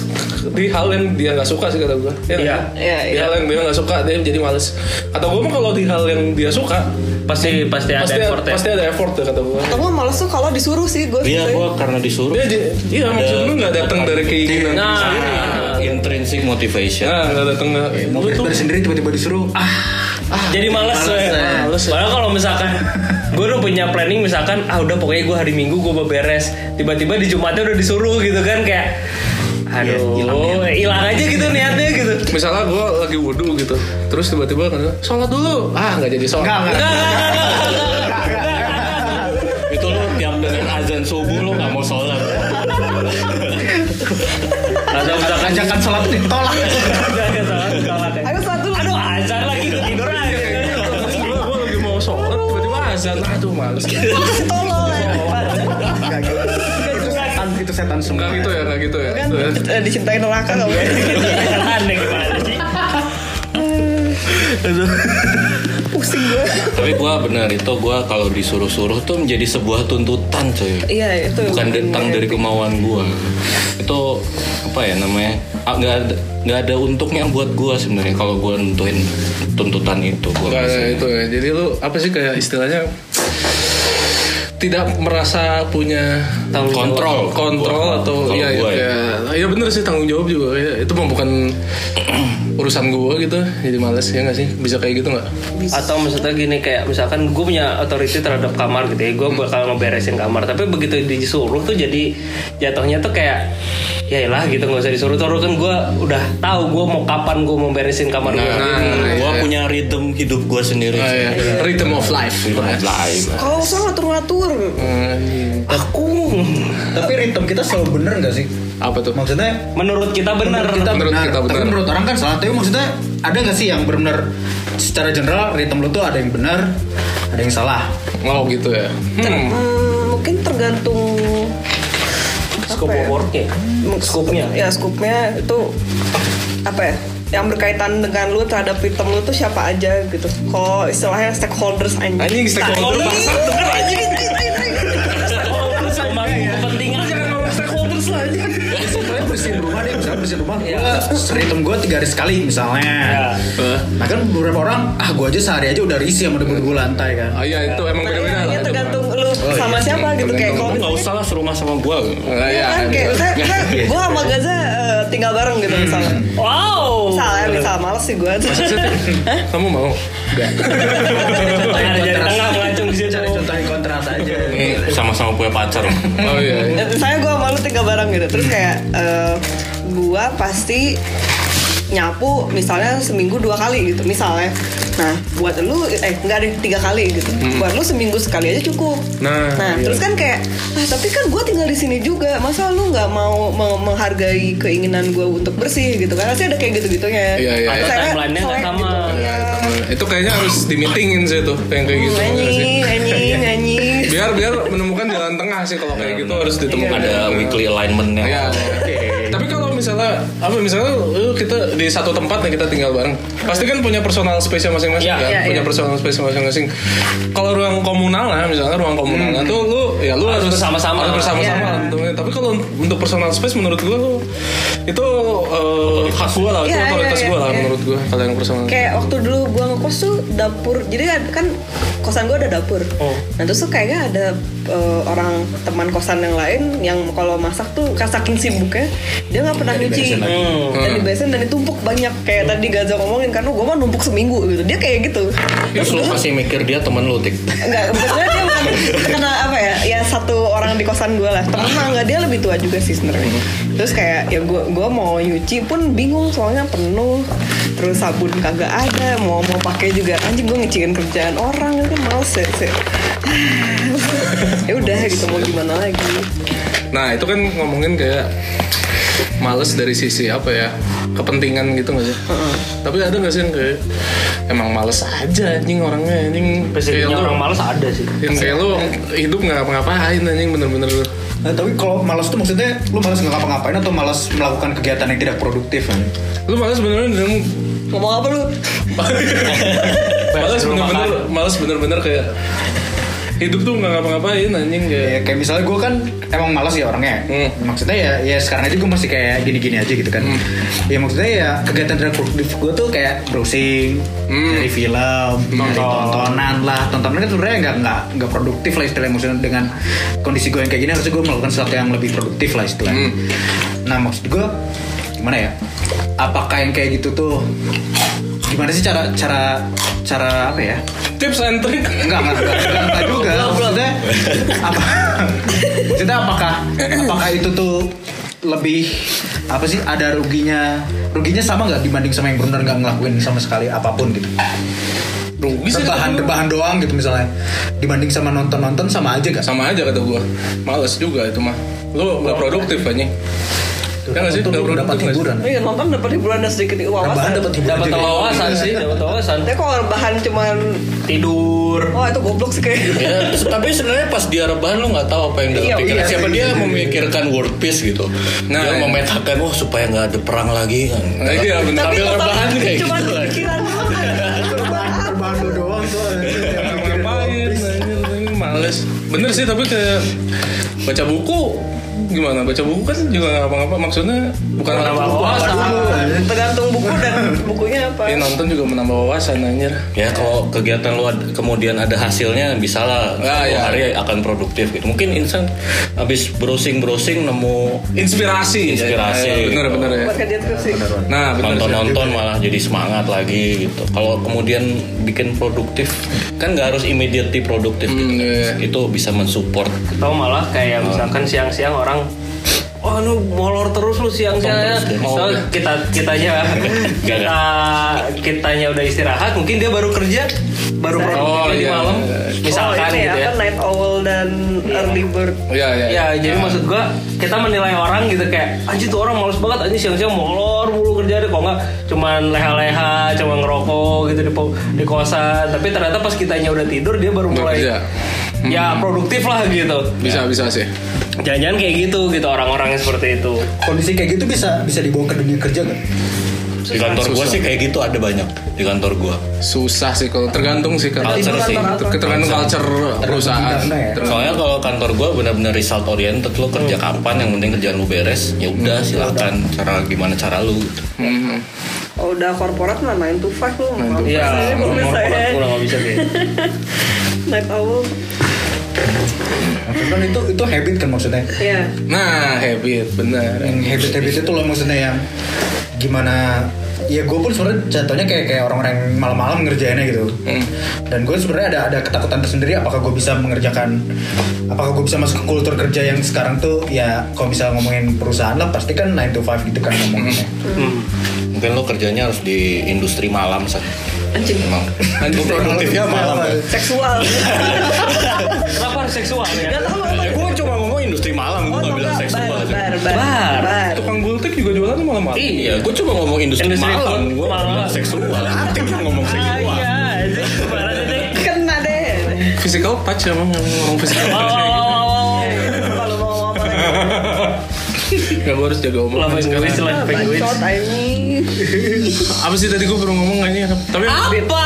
di hal yang dia nggak suka sih kata gua. Iya. nggak?
Iya,
Di
iya.
hal yang dia nggak suka dia jadi males. Atau gua mah kalau di hal yang dia suka
Pasti pasti ada
pasti
effort ya.
pasti ada effort ya kata gua.
Atau gue males tuh kalau disuruh sih gue.
Iya, gua karena disuruh.
Dia j- iya maksud lu nggak datang dari keinginan.
Nah,
Intrinsic motivation.
Nah, nggak datang
Iya.
dari-
Mau
lu tuh
beres sendiri tiba-tiba disuruh. Ah,
jadi males
Males,
loh ya.
ya.
Males, ya.
Padahal kalau misalkan gue udah punya planning misalkan ah udah pokoknya gue hari Minggu gue beberes. Tiba-tiba di Jumatnya udah disuruh gitu kan kayak aduh Iya, hilang aja gitu niatnya gitu.
misalnya gua lagi wudhu gitu terus tiba-tiba kan sholat dulu ah nggak jadi sholat
Enggak, enggak, enggak, enggak, enggak.
Itu lu tiap dengan azan subuh lu nggak mau sholat.
Atau misalkan
ajakan sholat itu ditolak.
Ayo satu dulu.
Aduh, azan lagi tidur aja.
Gua- gua lagi mau sholat tiba-tiba azan aduh males
itu setan, itu setan semua.
nggak gitu ya nggak gitu ya
Eh, Dicintai neraka gak boleh.
Aneh gimana sih?
Pusing gue.
Tapi gua benar itu gua kalau disuruh-suruh tuh menjadi sebuah tuntutan coy.
Iya itu.
bukan datang dari kemauan gua itu apa ya namanya ah, nggak ada nggak ada untuknya buat gua sebenarnya kalau gua nentuin tuntutan itu gua
Nggak ada
ngasih.
itu ya jadi lu apa sih kayak istilahnya tidak merasa punya
Kontrol.
kontrol
Gua-
atau
kalau
iya iya
gua ya.
kayak- iya bener sih tanggung jawab juga ya, itu mah bukan urusan gua gitu jadi males ya nggak sih bisa kayak gitu nggak
atau maksudnya gini kayak misalkan gue punya authority terhadap kamar gitu ya gue bakal ngeberesin kamar tapi begitu disuruh tuh jadi jatuhnya tuh kayak ya lah gitu nggak usah disuruh suruh kan gue udah tahu gue mau kapan gue mau beresin kamar gue
Nah, iya,
gua
iya.
punya rhythm hidup gua sendiri
Ah,
iya.
iya. rhythm of life
Rhythm of life.
Kau usah ngatur-ngatur.
Hmm, iya.
aku
Tapi ritme kita selalu bener gak sih?
apa tuh
Maksudnya
menurut kita benar
kita
Menurut
benar,
kita
tapi
benar.
menurut orang kan salah. Tapi maksudnya ada gak sih yang benar secara general ritme lu tuh ada yang benar, ada yang salah.
Oh gitu ya. Hmm.
Hmm, mungkin tergantung
scope of worknya scope-nya
ya skupnya itu apa ya yang berkaitan dengan lu terhadap item lu tuh siapa aja gitu. Kalau istilahnya stakeholders anjing.
Anjing
Nah,
stakeholder bangsa.
kan
sama kepentingan
Sebenarnya bersihin rumah deh, misalnya bersihin rumah. Iya. Gua ritme gue tiga hari sekali misalnya.
Eh,
Nah kan beberapa orang, ah gue aja sehari aja udah risih sama debu-debu lantai kan.
Oh iya itu emang beda-beda.
Iya,
lah,
iya,
itu
tergantung lu sama siapa gitu
Oh,
kayak
Tergantung.
kalau
nggak usah lah serumah sama gua
mah. Ah, iya,
Iya kan
iya. Hmm. Oh.
kayak misalnya, misalnya gue sama Gaza eh, tinggal bareng gitu misalnya.
wow
Misalnya, misalnya males sih gue.
Kamu mau?
ada jari tengah mengacung di situ
Cari contoh yang kontras aja.
Eh, sama-sama punya pacar
Oh iya. iya.
Saya gue malu tinggal bareng gitu. Terus kayak eh, gua gue pasti nyapu misalnya seminggu dua kali gitu misalnya. Nah buat lu eh enggak deh tiga kali gitu. Buat lu seminggu sekali aja cukup.
Hmm. Nah, iya.
terus kan kayak ah tapi kan gue tinggal di sini juga masa lu nggak mau meng- menghargai keinginan gue untuk bersih gitu kan pasti ada kayak gitu gitunya.
Iya, iya, iya.
Timeline-nya nggak sama.
Itu kayaknya harus dimitingin sih tuh yang kayak
Iya,
gitu. ya nggak sih?
Anjing, anjing, anjing.
Biar biar
Iya,
menemukan jalan tengah sih kalau kayak gitu harus ditemukan.
ada weekly alignment
Iya.
nya
Tapi kalau misal misalnya apa misalnya eh, kita di satu tempat nih kita tinggal bareng pasti kan punya personal space masing-masing
Iya,
kan
iya,
punya
iya.
personal space masing-masing kalau ruang komunal lah misalnya ruang komunal tuh lu ya lu
Harus
harus
bersama-sama.
harus bersama-sama
Hmm. Iya.
tentunya. tapi kalau untuk personal space menurut gua lu itu eh, hak gua lah itu
Iya, iya,
otoritas
iya,
gua lah
iya.
menurut gua kalau yang personal
kayak waktu dulu gua ngekos tuh dapur jadi kan- kan kosan gua ada dapur nah terus tuh kayaknya ada eh, orang teman kosan yang lain yang kalau masak tuh kan saking sibuknya dia nggak pernah nyuci
diberesin lagi. Hmm.
Hmm. dan diberesin dan ditumpuk banyak kayak tadi Gaza ngomongin karena gua mah numpuk seminggu gitu dia kayak gitu
Terus lu masih mikir dia temen lu, Tik.
Enggak, sebenarnya dia bukan karena apa ya? Ya satu orang di kosan gue lah. Temen lah enggak dia lebih tua juga sih sebenarnya.
Hmm.
Terus kayak ya gue gua mau nyuci pun bingung soalnya penuh. Terus sabun kagak ada, mau mau pakai juga anjing gue ngecilin kerjaan orang kan males ya. sih. ya udah gitu mau gimana lagi.
Nah itu kan ngomongin kayak males dari sisi apa ya kepentingan gitu nggak sih? Tapi ada nggak sih yang kayak emang males aja anjing orangnya anjing kayak
Basicnya
lu
orang malas ada sih.
yang kayak lu hidup nggak ngapa-ngapain anjing bener-bener lu.
Nah, tapi kalau malas tuh maksudnya lu malas nggak ngapa-ngapain atau malas melakukan kegiatan yang tidak produktif kan?
Lu males bener-bener dengan
Ngomong apa lu?
males bener-bener males bener-bener kayak hidup tuh nggak ngapa-ngapain anjing kayak
Ya, kayak misalnya gue kan emang malas ya orangnya.
Hmm.
Maksudnya ya, ya sekarang aja gue masih kayak gini-gini aja gitu kan. Ya maksudnya ya kegiatan tidak produktif gue tuh kayak browsing,
Hmm.
dari film, dari tontonan lah. Tontonan kan sebenarnya nggak nggak nggak produktif lah istilahnya maksudnya dengan kondisi gue yang kayak gini harusnya gue melakukan sesuatu yang lebih produktif lah istilahnya.
Hmm.
Nah maksud gue gimana ya? Apakah yang kayak gitu tuh gimana sih cara cara cara apa ya?
tips and trick
Enggak, enggak, enggak, enggak, enggak juga. Maksudnya, apa, maksudnya apakah apakah itu tuh lebih apa sih ada ruginya ruginya sama nggak dibanding sama yang benar nggak ngelakuin sama sekali apapun gitu
rugi sih
rebahan rebahan doang gitu misalnya dibanding sama nonton nonton sama aja gak
sama aja kata gua males juga itu mah lu nggak produktif anjing Ya nggak sih?
Nonton
Nggak
lu
produktif
dapat
nggak sih?
hiburan
Iya nonton dapat hiburan dan sedikit iya,
rebahan
wawasan.
dapat hiburan
Dapat
juga.
wawasan sih, dapat wawasan.
Tapi kalau rebahan cuman
Tidur.
wah itu goblok sih kayak.
Ya, tapi sebenarnya pas dia rebahan lu nggak tahu apa yang dalam
Iya,
pikiran
iya,
siapa
iya,
dia
iya, iya.
memikirkan world peace gitu.
Nah,
dia
iya.
memetakan wah supaya nggak ada perang lagi. gitu.
Nah, iya, bener.
Sambil
Tapi
rebahan
total
kayak
cuman
gitu. kan.
pikiran doang.
rebahan lu doang soalnya
ngapain anjir, anjing, males bener sih tapi kayak baca buku gimana baca buku kan juga nggak apa-apa maksudnya bukan
Menambah
menambah
wawasan.
Iya.
tergantung buku dan bukunya apa
ya nonton juga menambah wawasan anjir
Ya kalau kegiatan lu ad- kemudian ada hasilnya bisa lah
Ah,
satu
iya.
hari akan produktif gitu. Mungkin insan habis browsing browsing nemu
inspirasi
Inspirasi.
Ya, ya, bener bener ya
buat kerja skripsi
nah bener
nonton nonton malah jadi semangat lagi gitu. Kalau kemudian bikin produktif kan nggak harus immediately produktif gitu.
Hmm, iya.
Itu bisa mensupport
Atau malah kayak misalkan siang-siang orang Wah lu molor terus lu siang-siang ya. Soalnya kita kitanya kita kitanya udah istirahat, mungkin dia baru kerja, baru produktif di
iya.
malam. Misalkan
oh, ini
gitu ya. Iya.
apa, night owl dan early bird
ya ya, ya.
Ya, jadi maksud gua kita menilai orang gitu kayak anjir tuh orang males banget anjir siang-siang molor mulu kerja deh kok nggak cuman leha-leha, cuma ngerokok gitu di, po- di kosan. Tapi ternyata pas kitanya udah tidur dia baru
Udah
mulai
kerja. Hmm.
Ya produktif lah gitu.
bisa bisa sih
Jangan-jangan kayak gitu gitu orang-orangnya seperti itu.
kondisi kayak gitu bisa bisa dibawa ke dunia kerja gak?
Iya.
di kantor gua sih kayak gitu ada banyak di kantor gua
susah sih kalau tergantung sih kalau
Culture sih.
tergantung culture perusahaan
bidangnya ya.
Ter-
soalnya kalau kantor gua benar-benar result oriented lo kerja kapan yang penting kerjaan lu beres Hmm. ya udah silakan cara gimana cara lu gitu.
Mhm.
oh, udah korporat mah 9 to 5 lu
Nine to
Maaf,
Iya,
saya belum
nomor
selesai.
kurang kurang nggak bisa kayak. gitu.
night owl
Nah, kan itu itu habit kan maksudnya
ya
nah habit bener
yang habit-habit itu loh maksudnya yang gimana ya gue pun sebenarnya jatuhnya kayak kayak orang-orang yang malam-malam ngerjainnya gitu
Hmm.
dan gue sebenarnya ada ada ketakutan tersendiri apakah gue bisa mengerjakan apakah gue bisa masuk ke kultur kerja yang sekarang tuh ya kalau bisa ngomongin perusahaan lah pasti kan 9 to 5 gitu
Hmm.
kan ngomonginnya
mungkin lo kerjanya harus di industri malam sih
anjing
emang Lo produktifnya malam ya
seksual
Kenapa harus seksual ya?
Gak tahu apa
gue cuma ngomong industri malam gue nggak bilang
enggak,
seksual
bar,
sih.
bar, bar,
Bar.
bar.
tukang gultik juga jualan malam-malam
Iya, gue cuma ngomong industri,
Industri
malam,
food
gue
malam.
malam seksual. Atik yang ngomong
Ah,
seksual.
Iya, anjing, gimana sih, Dek?
kena deh
physical touch gitu. emang ngomong physical touch
Oh,
Kalau mau ngomong apa lagi?
Gak gue harus jaga omongan
Love
sekarang.
language, love language.
Bacot, I mean.
Apa sih tadi gue baru ngomong anjing? Tapi
Apa?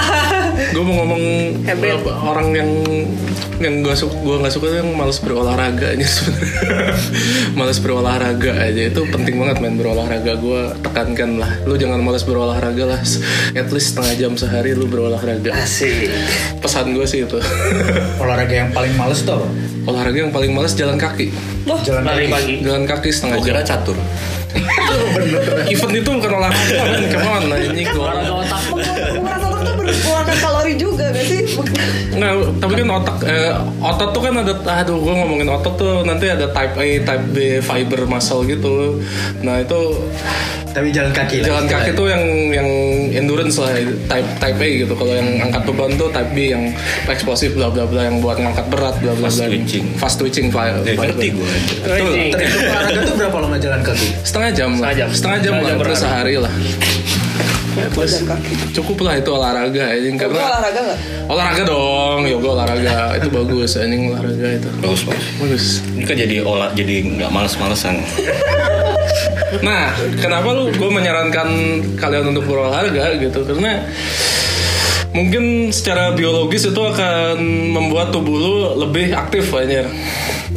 gue mau ngomong
Habit.
apa, orang yang yang gue suka gue nggak suka tuh yang malas berolahraga aja sebenarnya malas berolahraga aja itu penting banget main berolahraga gue tekankan lah lu jangan malas berolahraga lah at least setengah jam sehari lu berolahraga
Asik.
pesan gue sih itu
kan. olahraga yang paling males tuh apa?
olahraga yang paling malas jalan kaki
jalan
Lari
kaki
pagi.
jalan kaki setengah
Gue
jam
kira catur.
event itu bukan olahraga men come on anjing gua-
Olahraga otak.
Menguras otak tuh mengeluarkan kalori juga gak sih?
Nggak, tapi kan otak eh, otot tuh kan ada aduh gue ngomongin otot tuh nanti ada type A, type B fiber muscle gitu. Nah, itu
tapi jalan kaki lah
jalan kaki tuh yang yang endurance lah type type A gitu. Kalau yang angkat beban tuh type B yang eksplosif bla bla bla yang buat ngangkat berat bla bla bla.
Fast twitching.
Fast twitching fi-
Ya,
fiber.
ngerti gue.
Anjing.
Terhitung olahraga tuh berapa lama jalan kaki?
Setengah jam lah.
Setengah jam.
Setengah jam
Setengah
lah
jam
terus
berhari.
sehari lah. Terus cukup lah itu olahraga anjing
Gue
karena
olahraga gak?
olahraga dong yoga olahraga itu bagus anjing olahraga itu
Bagus bagus.
bagus
Ini kan jadi olah jadi nggak males-malesan.
Nah, kenapa lu gue menyarankan kalian untuk berolahraga gitu? Karena mungkin secara biologis itu akan membuat tubuh lu lebih aktif anjir.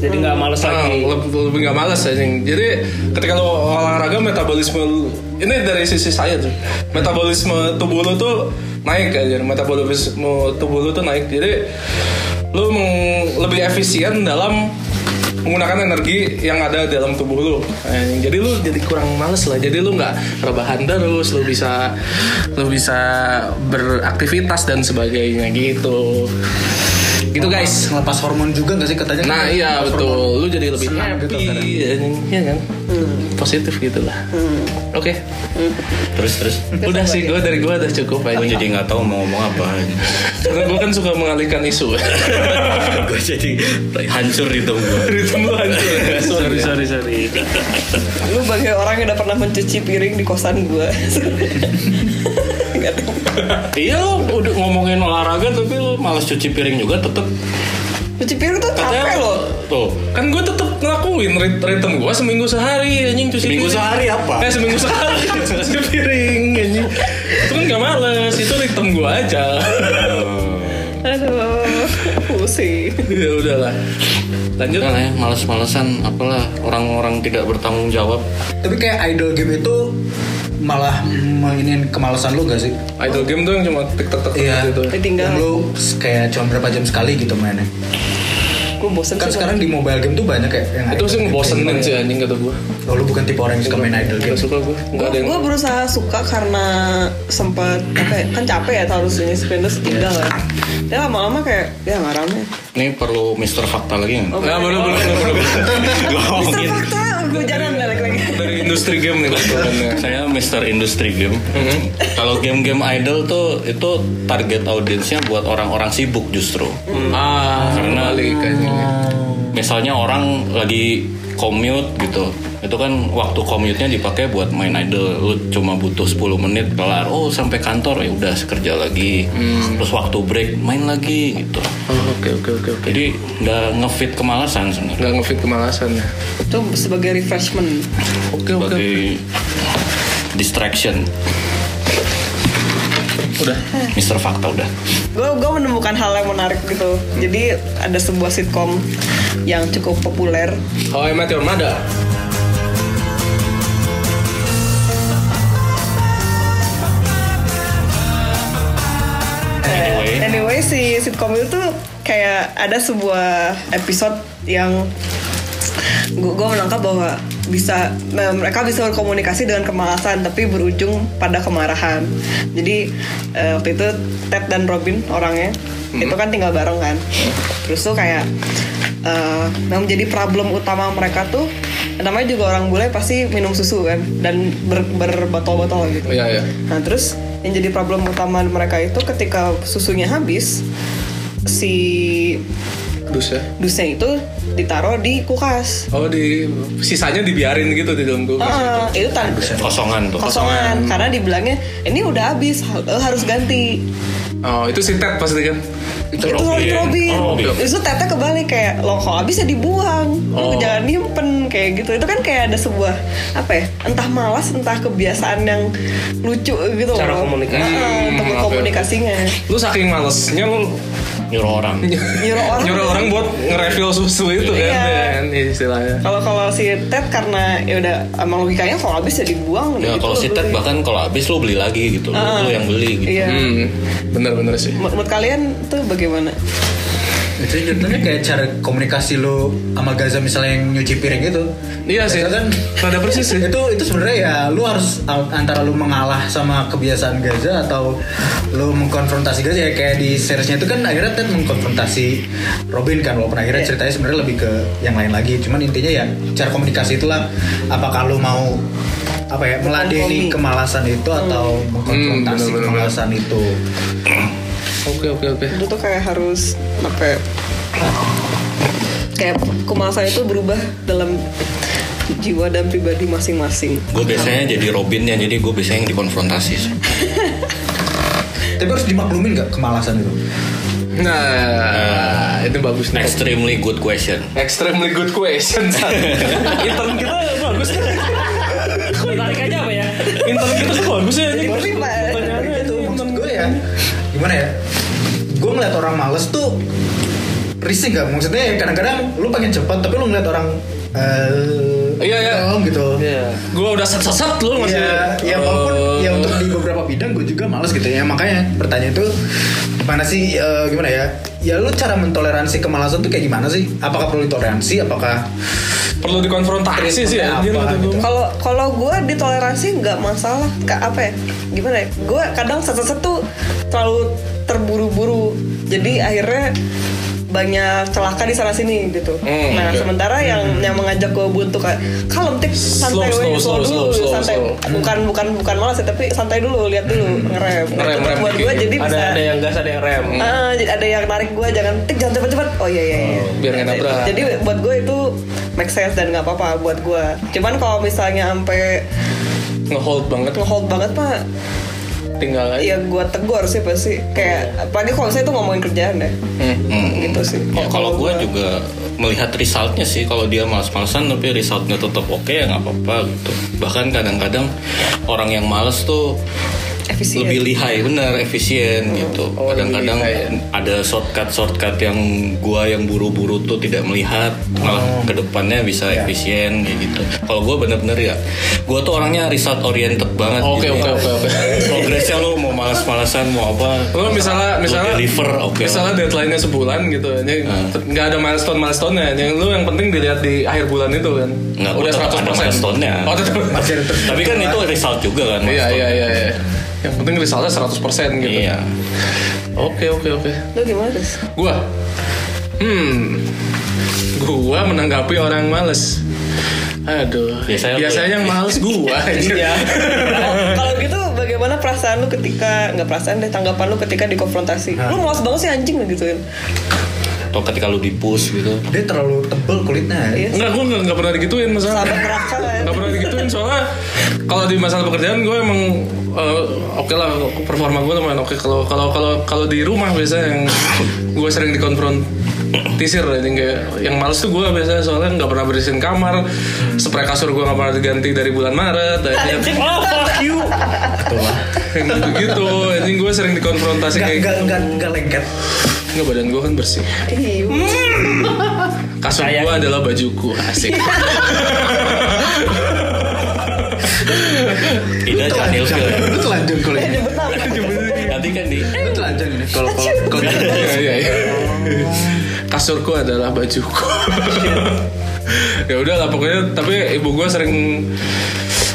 Jadi nggak males
Ah,
lagi.
leb- lebih nggak malas anjing. Jadi ketika lu olahraga metabolisme lu- ini dari sisi saya tuh. Metabolisme tubuh lu tuh naik anjir. Metabolisme tubuh lu tuh naik. Jadi lu meng- lebih efisien dalam menggunakan energi yang ada dalam tubuh lu. Anjing. Jadi lu jadi kurang males lah. Jadi lu nggak rebahan terus, lu bisa lu bisa beraktivitas dan sebagainya gitu. Gitu guys.
Ngelepas hormon juga gak sih katanya?
Nah iya betul, lu jadi lebih
Senang
happy,
gitu kadang.
iya kan, positif gitu lah. Oke,
Terus terus.
udah sih gue dari gue udah cukup
Gue
aja.
jadi nggak tahu mau ngomong apa.
Karena gue kan suka mengalihkan isu.
gue jadi hancur itu gue.
Ritme lu hancur. ya. Sorry, sorry.
Sorry sorry.
Lu bagai orang yang udah pernah mencuci piring di kosan gue
Iya lu udah ngomongin olahraga tapi lu malas cuci piring juga tetep
Cuci piring tuh capek
katanya
loh
tuh
Kan gue tetep ngelakuin rit- ritme gue seminggu sehari anjing cuci
Seminggu
piring.
sehari apa?
Eh seminggu sehari cuci piring anjing. Itu kan gak males, itu ritme gue aja.
Aduh Pusing
ya udahlah. Lanjut.
jangan ya malas-malasan apalah orang-orang tidak bertanggung jawab
Tapi kayak idol game itu malah mainin kemalasan lu gak sih?
Idol game tuh yang cuma tik tak tak gitu.
Ditinggal.
Yang Lu kayak cuma berapa jam sekali gitu mainnya.
Gue bosen
Kan
sih
sekarang di mobile game tuh banyak ya yang
Itu
idol
sih
game.
ngebosenin sih anjing kata gue.
Oh, lu bukan tipe orang yang suka main idol game.
Gak suka gue. Gak ada yang
Gue berusaha suka karena sempat apa ya, kan capek ya taruh sini screen terus tinggal kan. Tapi lama-lama kayak ya nggak rame.
ini perlu Mister Fakta lagi nggak?
Nggak, belum, belum, belum, belum.
Mister Fakta, gue jangan balik lagi.
Dari industri game nih kebetulannya.
saya Mister Industri Game kalau game-game idol tuh itu target audiensnya buat orang-orang sibuk justru
Ah,
Karena-
kembali kayaknya.
misalnya orang lagi commute gitu itu kan waktu commute-nya dipakai buat main idol lu cuma butuh 10 menit kelar oh sampai kantor ya udah kerja lagi terus waktu break main lagi gitu
Oh, oke, oke, oke, oke.
jadi nggak ngefit kemalasan sebenarnya
Gak ngefit kemalasan ya.
Itu sebagai refreshment.
Oke, oke.
sebagai distraction
Udah.
Mister Fakta udah
gue gue menemukan hal yang menarik gitu jadi ada sebuah sitkom yang cukup populer
How I Met Your Mother.
anyway
anyway si sitkom itu tuh kayak ada sebuah episode yang gue gue menangkap bahwa bisa me- mereka bisa berkomunikasi dengan kemalasan tapi berujung pada kemarahan jadi eh, waktu itu Ted dan Robin orangnya itu kan tinggal bareng kan terus tuh kayak eh, yang menjadi problem utama mereka tuh namanya juga orang bule pasti minum susu kan dan ber, berbotol-botol gitu
Oh, iya, iya.
Nah terus yang jadi problem utama mereka itu ketika susunya habis si
dusnya
dusnya itu ditaruh di kulkas
ya. oh di sisanya dibiarin gitu di dalam kulkas
Ah, itu tan
Kosongan tuh.
kosongan karena dibilangnya ini udah habis ha- eh, harus ganti
oh itu sintet pasti kan
itu robin
Oh, Robin.
itu teteh kebalik kayak lo kalau habis ya dibuang lo jangan nyimpen kayak gitu itu kan kayak ada sebuah apa ya entah malas entah kebiasaan yang lucu gitu
Cara
loh.
komunikasi.
Ah, temu
oke.
komunikasinya
lu saking malesnya lu
Nyuruh orang.
nyuruh orang
nyuruh orang buat nge-refill susu itu kan
Iya.
Dan, istilahnya
kalau kalau si Ted karena ya udah emang logikanya kalau habis ya dibuang udah
Ya
gitu
kalau
loh,
si Ted
beli.
bahkan kalau habis lu beli lagi gitu. Lu, lu yang beli gitu.
iya
hmm, bener-bener sih
Menur- menurut kalian tuh bagaimana
itu contohnya kayak cara komunikasi lo sama Gaza misalnya yang nyuci piring itu
iya sih
Gaza
kan rada persis sih
itu itu sebenarnya ya lu harus antara lu mengalah sama kebiasaan Gaza atau lu mengkonfrontasi Gaza ya kayak di seriesnya itu kan akhirnya Ted mengkonfrontasi Robin kan walaupun
Iya.
akhirnya ceritanya sebenarnya lebih ke yang lain lagi cuman intinya ya cara komunikasi itulah apakah lu mau apa ya meladeni kemalasan itu atau
Hmm.
mengkonfrontasi
bener-bener.
kemalasan itu
oke oke oke
itu tuh kayak harus apa ya, kayak kemalasan itu berubah dalam jiwa dan pribadi masing-masing
Gue biasanya jadi Robinnya, jadi gue biasanya yang dikonfrontasi. sih.
tapi harus dimaklumin gak kemalasan itu
nah itu bagus nih
Extremely good question.
extremely good question San. intern kita bagus kan
Menarik aja apa ya?
intern kita tuh bagus ya anjing.
Tapi, Pak,
itu maksud gue ya gimana ya gue ngeliat orang males tuh risih gak maksudnya ya kadang-kadang lu pengen cepat tapi lu ngeliat orang eh
Iya, iya.
down gitu
gue udah sesat lu masih Oh.
Ya, ya walaupun ya untuk di beberapa bidang gue juga males gitu ya makanya pertanyaan itu gimana sih eh, gimana ya ya lu cara mentoleransi kemalasan tuh kayak gimana sih apakah perlu ditoleransi apakah
perlu dikonfrontasi sih ya. Iya,
Apa
anjir kata
gitu.
gua.
kalau kalau gue ditoleransi nggak masalah Ka- apa ya gimana ya gue kadang seset tuh terlalu terburu-buru jadi akhirnya banyak celaka di sana sini gitu.
Hmm, oke.
nah
Hmm.
sementara yang yang mengajak gue untuk kayak kalem tik santai
Slow, slow,
weh,
slow,
dulu
slow, slow,
santai
slow. Hmm.
bukan bukan bukan malas ya tapi santai dulu lihat dulu ngerem. Nah,
Ngerem,
itu
ngerem
buat
dikit.
gue jadi
Ada
bisa
ada yang gas, ada yang rem.
Ah, jadi ada yang narik gue jangan tik jangan cepet-cepet. Oh iya iya. iya.
biar nggak nabrak.
Jadi buat gue itu make sense dan nggak apa-apa buat gue. Cuman kalau misalnya sampai
ngehold banget
ngehold banget mah
tinggal aja
ya gue tegur sih pasti kayak apalagi kalau saya itu ngomongin kerjaan deh
Hmm.
gitu sih
Ya, kalau gue juga melihat resultnya sih kalau dia malas-malasan tapi resultnya tetap oke ya nggak apa-apa gitu bahkan kadang-kadang orang yang males tuh
efisien
lebih lihai bener efisien
Oh,
gitu kadang-kadang
ya.
ada shortcut shortcut yang gua yang buru-buru tuh tidak melihat malah
Oh.
kedepannya bisa
Ya.
efisien kayak gitu kalau gua bener-bener ya gua tuh orangnya result oriented banget
oke
gitu
oke
ya.
oke oke
progresnya lo mau malas-malasan mau apa
Lu misalnya
Lu
misalnya
deliver oke
misalnya deadline-nya sebulan gitu ya nggak ada milestone milestone nya yang lu yang penting dilihat di akhir bulan itu kan
Nggak, gua tetap ada milestone-nya.
oh tetap
masih ada ter-
tapi kan itu result juga kan
iya
milestone.
iya iya iya. yang penting resultnya 100% gitu
Iya.
oke oke oke
lo gimana Des?
gua hmm gua menanggapi orang males aduh biasanya,
Biasanya
Iya.
lu ya.
yang males gua anjir.
kalau gitu bagaimana perasaan lu ketika nggak perasaan deh tanggapan lu ketika dikonfrontasi lu malas banget sih anjing gituin
atau ketika lu di push gitu
dia terlalu tebel kulitnya
Iya.
Enggak, gue nggak pernah digituin masalah
sahabat neraka lah ya.
nggak pernah digituin soalnya kalau di masalah pekerjaan gue emang eh, oke lah performa gue lumayan oke kalau kalau kalau kalau di rumah biasanya yang gue sering dikonfrontisir anjing kayak yang males tuh gue biasanya soalnya nggak pernah bersihin kamar spray kasur gue nggak pernah diganti dari bulan Maret anjing
Oh fuck you.
yang gitu anjing gue sering dikonfrontasi
Gak,
kayak
gak, gak, gak lengket
nggak badan gue kan bersih
Ih,
kasur
Sayang.
gue adalah bajuku asik
tidak jangan ilfil ya.
Lu telanjang kulit
ada benar.
nanti kan di
Lu telanjang ini Kalau kalau- kalau
Iya, iya, iya. Kasurku adalah bajuku. ya udah lah pokoknya tapi ibu gue sering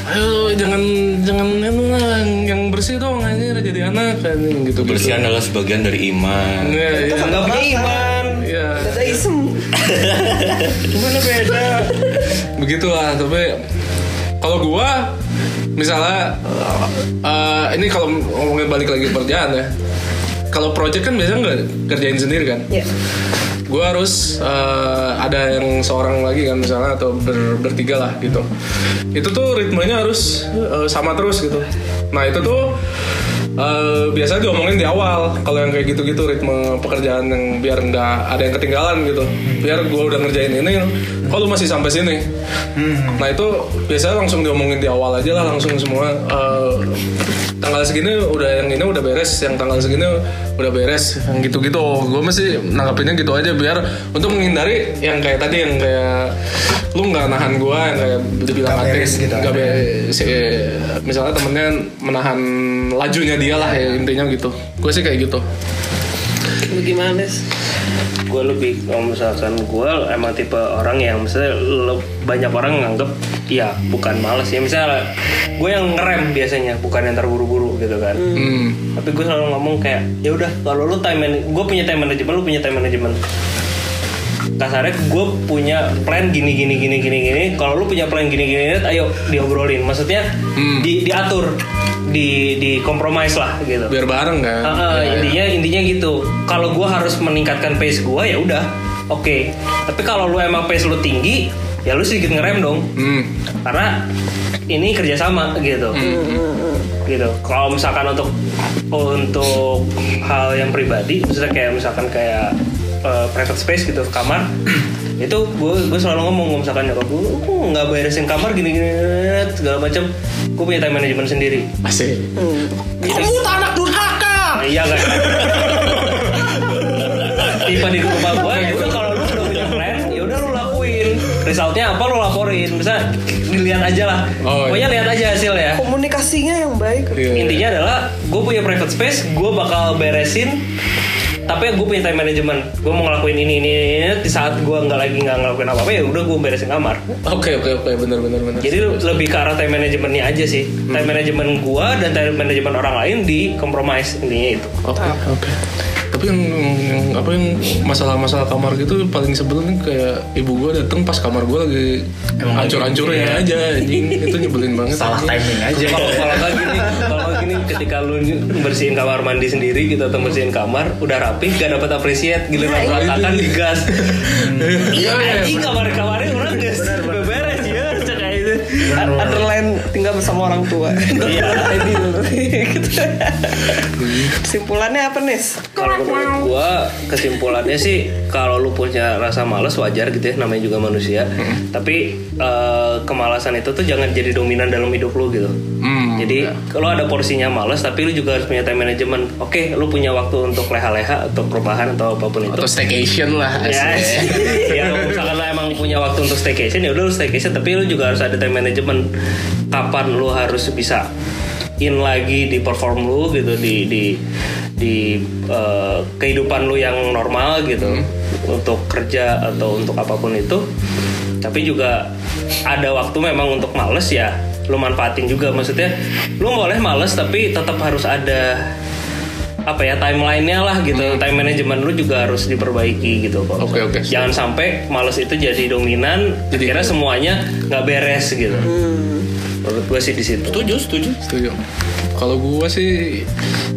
ayo jangan jangan itu lah, yang bersih dong anjir jadi anak kan gitu
kebersihan adalah sebagian dari iman
Iya, iya.
Nggak punya iman
Iya.
ada isem
Gimana beda? Begitulah, tapi kalau gua misalnya eh, ini kalau ngomongin balik lagi ke kerjaan ya. Kalau project kan biasanya nggak kerjain sendiri kan?
ya
gue harus eh, ada yang seorang lagi kan misalnya atau ber- bertiga lah gitu itu tuh ritmenya harus eh, sama terus gitu nah itu tuh eh, biasanya diomongin di awal kalau yang kayak gitu-gitu ritme pekerjaan yang biar nggak ada yang ketinggalan gitu biar gue udah ngerjain ini kalau Oh, lu masih sampai sini
Hmm.
nah itu biasanya langsung diomongin di awal aja lah langsung semua eh, tanggal segini udah yang ini udah beres, yang tanggal segini udah beres, yang gitu-gitu. Gue masih nanggapinnya gitu aja biar untuk menghindari yang kayak tadi yang kayak lu nggak nahan gue yang kayak dibilang
Nggak
antik,
beres gitu.
nggak be- si- misalnya temennya menahan lajunya dia lah ya intinya gitu. Gue sih kayak gitu.
Lu gimana sih?
gue lebih kalau misalkan gue emang tipe orang yang misalnya le- banyak orang nganggep ya bukan males ya misalnya gue yang ngerem biasanya bukan yang terburu-buru gitu kan
Hmm.
tapi gue selalu ngomong kayak ya udah kalau lu time management gue punya time management lu punya time management kasarnya gue punya plan gini gini gini gini gini kalau lu punya plan gini gini gini, ayo diobrolin maksudnya
Hmm.
di, diatur di di kompromis lah gitu
Biar bareng kan.
Ah, ah,
Ya, ya.
intinya intinya gitu kalau gue harus meningkatkan pace gue ya udah oke tapi kalau lu emang pace lu tinggi ya lu sedikit ngerem dong
Hmm.
karena ini kerjasama gitu
Hmm.
gitu kalau misalkan untuk untuk hal yang pribadi misalnya kayak misalkan kayak eh, private space gitu kamar itu gue gue selalu ngomong misalkan nyokap gue "Lu nggak beresin kamar gini gini segala macam gue punya time management sendiri
Asik.
kamu anak durhaka iya kan tipe di rumah gue ya udah kalau lu udah punya plan ya udah lu lakuin resultnya apa lu laporin bisa dilihat aja lah
Oh, iya.
pokoknya lihat aja hasilnya
Komunikasinya yang baik.
Iya.
intinya adalah gue punya private space gue bakal beresin tapi gue punya time management gue mau ngelakuin ini ini, ini, ini. di saat gue nggak lagi nggak ngelakuin apa apa ya udah gue beresin kamar
Oke oke oke benar benar benar.
jadi lu- lebih ke arah time managementnya aja sih time management gue dan time management orang lain di gitu. kompromis intinya itu
Oke, oke. Tapi yang, yang apa yang masalah-masalah kamar gitu paling sebelum nih kayak ibu gua dateng pas kamar gua lagi hancur-hancurnya aja anjing itu nyebelin banget.
salah
anjing.
timing aja
Kalau kalau nggak gini, kalau nggak gini ketika lu bersihin kamar mandi sendiri gitu atau bersihin kamar udah rapi gak dapat apresiat giliran
Nah, itu
berantakan
dia.
digas.
Iya,
Iya
iya,
anjing kamar-kamarnya orang guys beberes ya cek kayak itu.
Kan Underline tinggal bersama orang tua.
Iya.
Jadi dulu. Gitu. Kesimpulannya apa nih?
Kalau menurut gua kesimpulannya sih kalau lu punya rasa malas wajar gitu ya namanya juga manusia. Tapi eh, kemalasan itu tuh jangan jadi dominan dalam hidup lu gitu.
Hmm.
Jadi kalau ada porsinya males tapi lu juga harus punya time management. Oke, lu punya waktu untuk leha-leha atau perubahan atau apapun itu.
atau staycation lah.
Yes.
asik.
Iya, ya kalau misalkan lu emang punya waktu untuk staycation ya udah lu staycation tapi lu juga harus ada time management. Kapan lu harus bisa in lagi di perform lu gitu di di di eh, kehidupan lu yang normal gitu untuk kerja atau untuk apapun itu. Tapi juga ada waktu memang untuk males ya lu manfaatin juga maksudnya lu boleh males tapi tetap harus ada apa ya timelinenya lah gitu time management lu juga harus diperbaiki gitu kok
Hmm. Oke, oke.
jangan sampai males itu jadi dominan
Jadi- Hmm.
akhirnya semuanya nggak beres gitu menurut gue sih di situ
Setuju, setuju.
Setuju. Kalau gua sih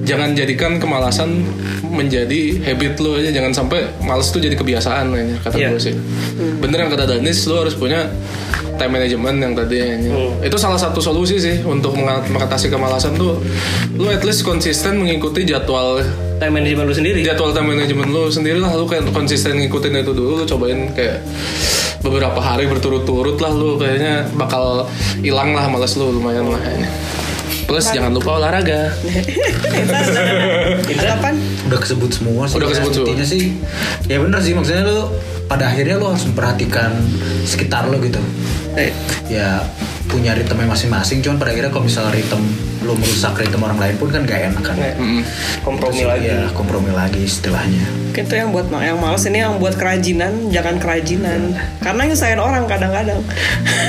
jangan jadikan kemalasan menjadi habit lo aja jangan sampai males tuh jadi kebiasaan kayaknya kata
Iya.
gua sih. Bener yang kata Danis lo harus punya time management yang tadi ini.
Hmm.
Itu salah satu solusi sih untuk mengat- mengatasi kemalasan tuh lo at least konsisten mengikuti jadwal
time management lu sendiri
jadwal time management lo sendiri lah lo kayak konsisten ngikutin itu dulu lo cobain kayak beberapa hari berturut-turut lah lo kayaknya bakal hilang lah males lo lumayan lah kayaknya. Plus jangan lupa olahraga.
Kapan?
udah kesebut semua sih
Udah kesebut semua.
intinya sih ya bener sih maksudnya lu pada akhirnya lu harus memperhatikan sekitar lu gitu ya punya ritme masing-masing cuman pada akhirnya kalau misalnya ritme lu merusak ritme orang lain pun kan gak enak kan
Mm-mm.
kompromi lagi
ya kompromi lagi istilahnya
Itu yang buat yang males ini yang buat kerajinan, jangan kerajinan. Karena nyusahin orang kadang-kadang.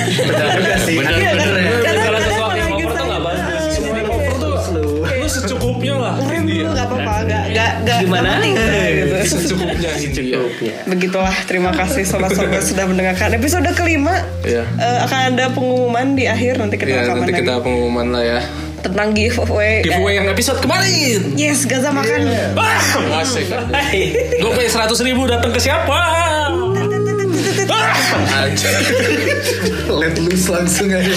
Iya, kan? Kadang-kadang
kalau sesuatu yang
malah
over tuh
nyusahin
nggak bagus
orang.
Semua yang
Jadi
over tuh
Lu secukupnya lah
Keren dulu Iya. nggak apa-apa, nggak nggak nggak
ya. Gimana?
nggak maling, gitu.
secukupnya India.
Begitulah, terima kasih sobat-sobat sudah mendengarkan episode kelima.
Iya.
Eh, akan ada pengumuman di akhir nanti kita
Ya
rekaman
nanti
lagi.
kita pengumuman lah ya.
tentang giveaway.
Giveaway yang episode kemarin.
Yes, Gaza makan.
Ah, asik. Gue pengen seratus ribu datang ke siapa? Ah, anjir.
Let loose langsung aja.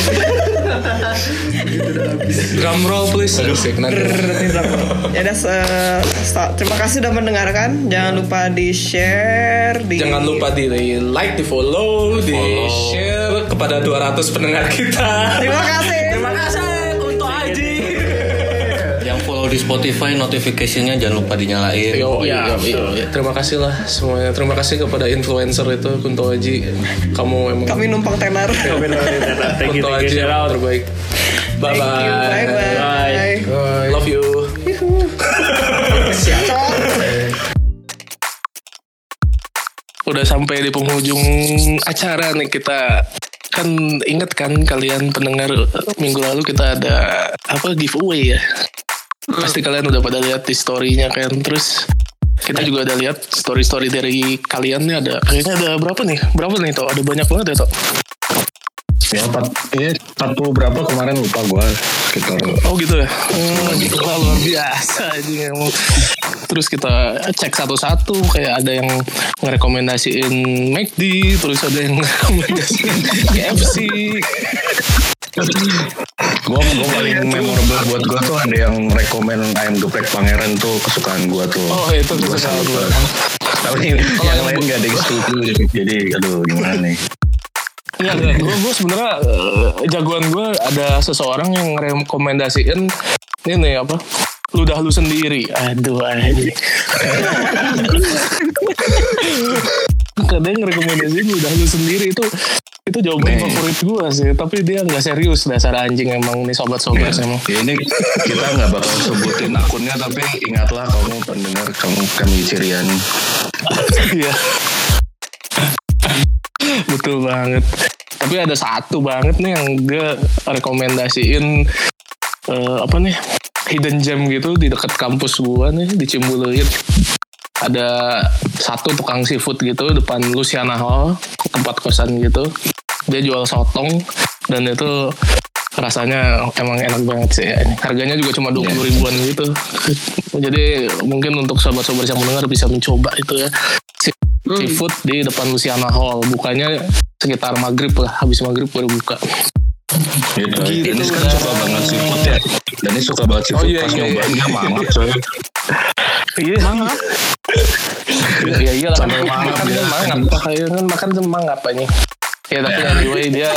Drum roll please. Asik, nanti.
Ya udah se- se- terima kasih sudah mendengarkan. Jangan lupa di-share di
Jangan lupa di like, di follow, di share kepada 200 pendengar kita.
Terima kasih.
Terima kasih untuk Aji.
Yang follow di Spotify notification-nya jangan lupa dinyalain.
Yo, iya, iya, iya. terima kasih lah semuanya. Terima kasih kepada influencer itu Kunto Aji. Kamu emang
Kami numpang tenar.
Thank you,
Kunto
thank you,
Aji
shout out.
yang terbaik. Bye
Bye
bye.
bye.
Love you. Udah sampai di penghujung acara nih kita kan inget kan kalian pendengar eh, minggu lalu kita ada apa giveaway ya pasti kalian udah pada lihat di story-nya kan terus kita juga ada lihat story-story dari kalian nih ada kayaknya ada berapa nih berapa nih toh ada banyak banget ya toh
Ya, empat, eh, 40 berapa kemarin lupa gua sekitar
Oh gitu ya? Hmm, wah, luar biasa anjing emang. Terus kita cek satu-satu kayak ada yang ngerekomendasiin McD, terus ada yang ngerekomendasiin KFC.
gua gua paling memorable buat gua tuh ada yang rekomend ayam geprek pangeran tuh kesukaan gua tuh
Oh itu
Gua
kesukaan
salut
lu.
banget. tapi yang lain gak ada yang setuju jadi aduh gimana nih
Iya, gue gue sebenarnya eh, jagoan gue ada seseorang yang rekomendasiin ini nih apa? Ludah lu sendiri. Aduh anjing. Kadang rekomendasiin ludah lu sendiri itu itu jawaban favorit gue sih, tapi dia nggak serius dasar anjing emang nih sobat-sobat emang.
ya ini kita nggak bakal sebutin akunnya tapi ingatlah kamu pendengar kamu kami cirian
Iya. Betul banget. Tapi ada satu banget nih yang dia rekomendasiin eh, apa nih hidden gem gitu di dekat kampus gua nih di Cimbuluit. Ada satu tukang seafood gitu depan Luciana Hall, tempat kosan gitu. Dia jual sotong dan itu rasanya emang enak banget sih. ya Harganya juga cuma 20 ribuan gitu. Jadi mungkin untuk sobat-sobat yang mendengar bisa mencoba itu ya seafood di depan Luciana Hall. Bukanya sekitar maghrib lah, habis maghrib baru buka.
gitu Dennis kan suka banget seafood ya Dennis suka banget seafood
iya,
pas
iya,
nyobain dia mangap coy
Iya. Mangap. Iya iya lah.
Sampai mangap
Makan
dia.
kan mangap. Makanya kan makan tuh mangap aja. Ya tapi anyway dia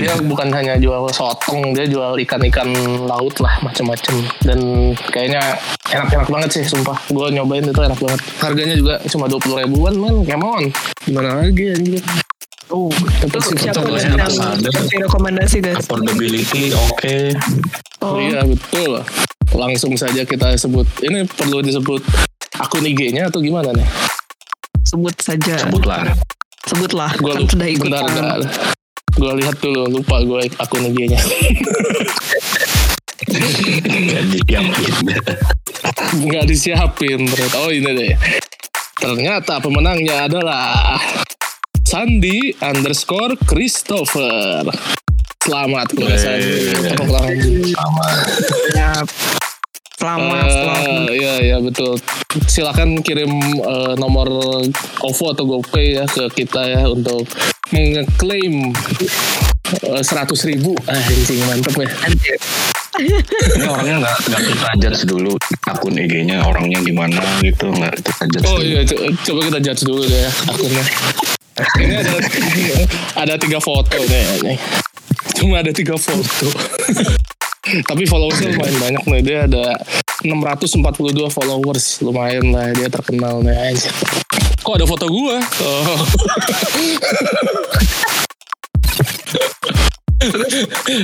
dia bukan hanya jual sotong, dia jual ikan-ikan laut lah macam-macam dan kayaknya enak-enak banget sih sumpah. Gue nyobain itu enak banget. Harganya juga cuma dua puluh ribuan man, come on. Gimana lagi anjir. Oh, tapi sih
Siapa
Betul,
yang
ya, ada.
kasih rekomendasi guys?
affordability oke
Iya betul. Langsung saja kita sebut. Ini perlu disebut akun IG-nya atau gimana nih?
Sebut saja.
sebutlah
Sebutlah.
Gua
Kan
lupa.
sudah ikut.
Bentar, bentar. Gua lihat dulu. Lupa gue akun IG-nya.
jadi yang
Nggak disiapin. Ternyata. Oh ini deh. Ternyata pemenangnya adalah Sandi underscore Christopher. Selamat buat Sandi.
Wey.
Tepuk tangan.
sama
Selamat, selamat.
Eh, Iya iya betul. Silakan kirim eh, nomor OVO atau GoPay ya ke kita ya untuk mengklaim eh, seratus ribu. Ah, anjing mantep ya.
ini orangnya nggak nggak kita judge dulu akun IG-nya orangnya gimana gitu nggak kita judge
Oh
dulu.
iya, co- coba kita judge dulu deh ya akunnya. Ini ada ada tiga foto kayaknya. Cuma ada tiga foto. Tapi followersnya lumayan banyak nih dia ada 642 followers lumayan lah dia terkenal nih aja. Kok ada foto gua? Oh.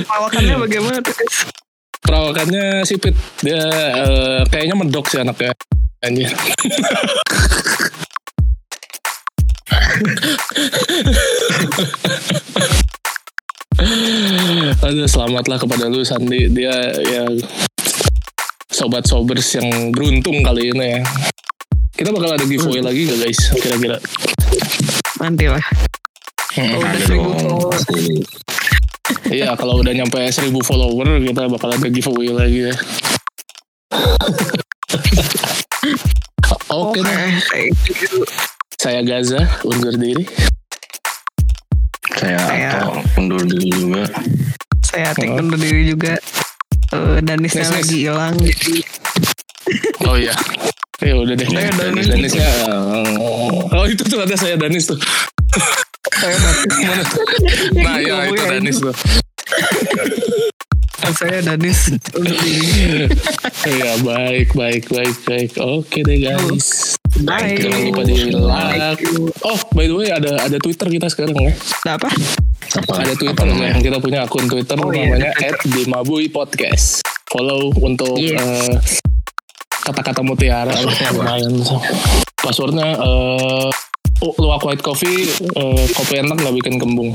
Perawakannya bagaimana tuh guys?
Perawakannya sipit dia eh, kayaknya mendok sih anaknya. Anjir. Aduh, selamatlah kepada lu Sandi. Dia ya sobat sobers yang beruntung kali ini ya. Kita bakal ada giveaway lagi gak guys? Kira-kira.
Nanti lah.
Eh,
gitu.
ada dong pasti
Iya, kalau udah nyampe 1000 follower kita bakal ada giveaway lagi ya. Oke, deh.
thank you.
saya Gaza undur diri.
Saya
Saya-
atau undur diri juga.
Saya take
Oh.
undur diri juga. Eh, dan Danisnya
Nice, nice.
lagi hilang jadi
Oh iya. Ya udah deh.
Saya Danis.
Danisnya, eh, Oh itu tuh ada saya Danis tuh.
saya Danis.
Mana? Nah ya itu
Ngomongnya
Danis tuh.
saya Danis undur diri.
Iya baik baik baik baik. Oke deh guys.
Bye.
Jangan lupa di like. Oh by the way ada ada Twitter kita sekarang ya.
Nah, apa?
Apa?
Ada Twitter
apa namanya?
yang kita punya akun Twitter
Oh, iya,
namanya
ada
@dimabui_podcast. Follow untuk
Yes.
eh, kata-kata mutiara lumayan. Passwordnya eh oh, luwak white coffee, eh, kopi enak nggak bikin kembung.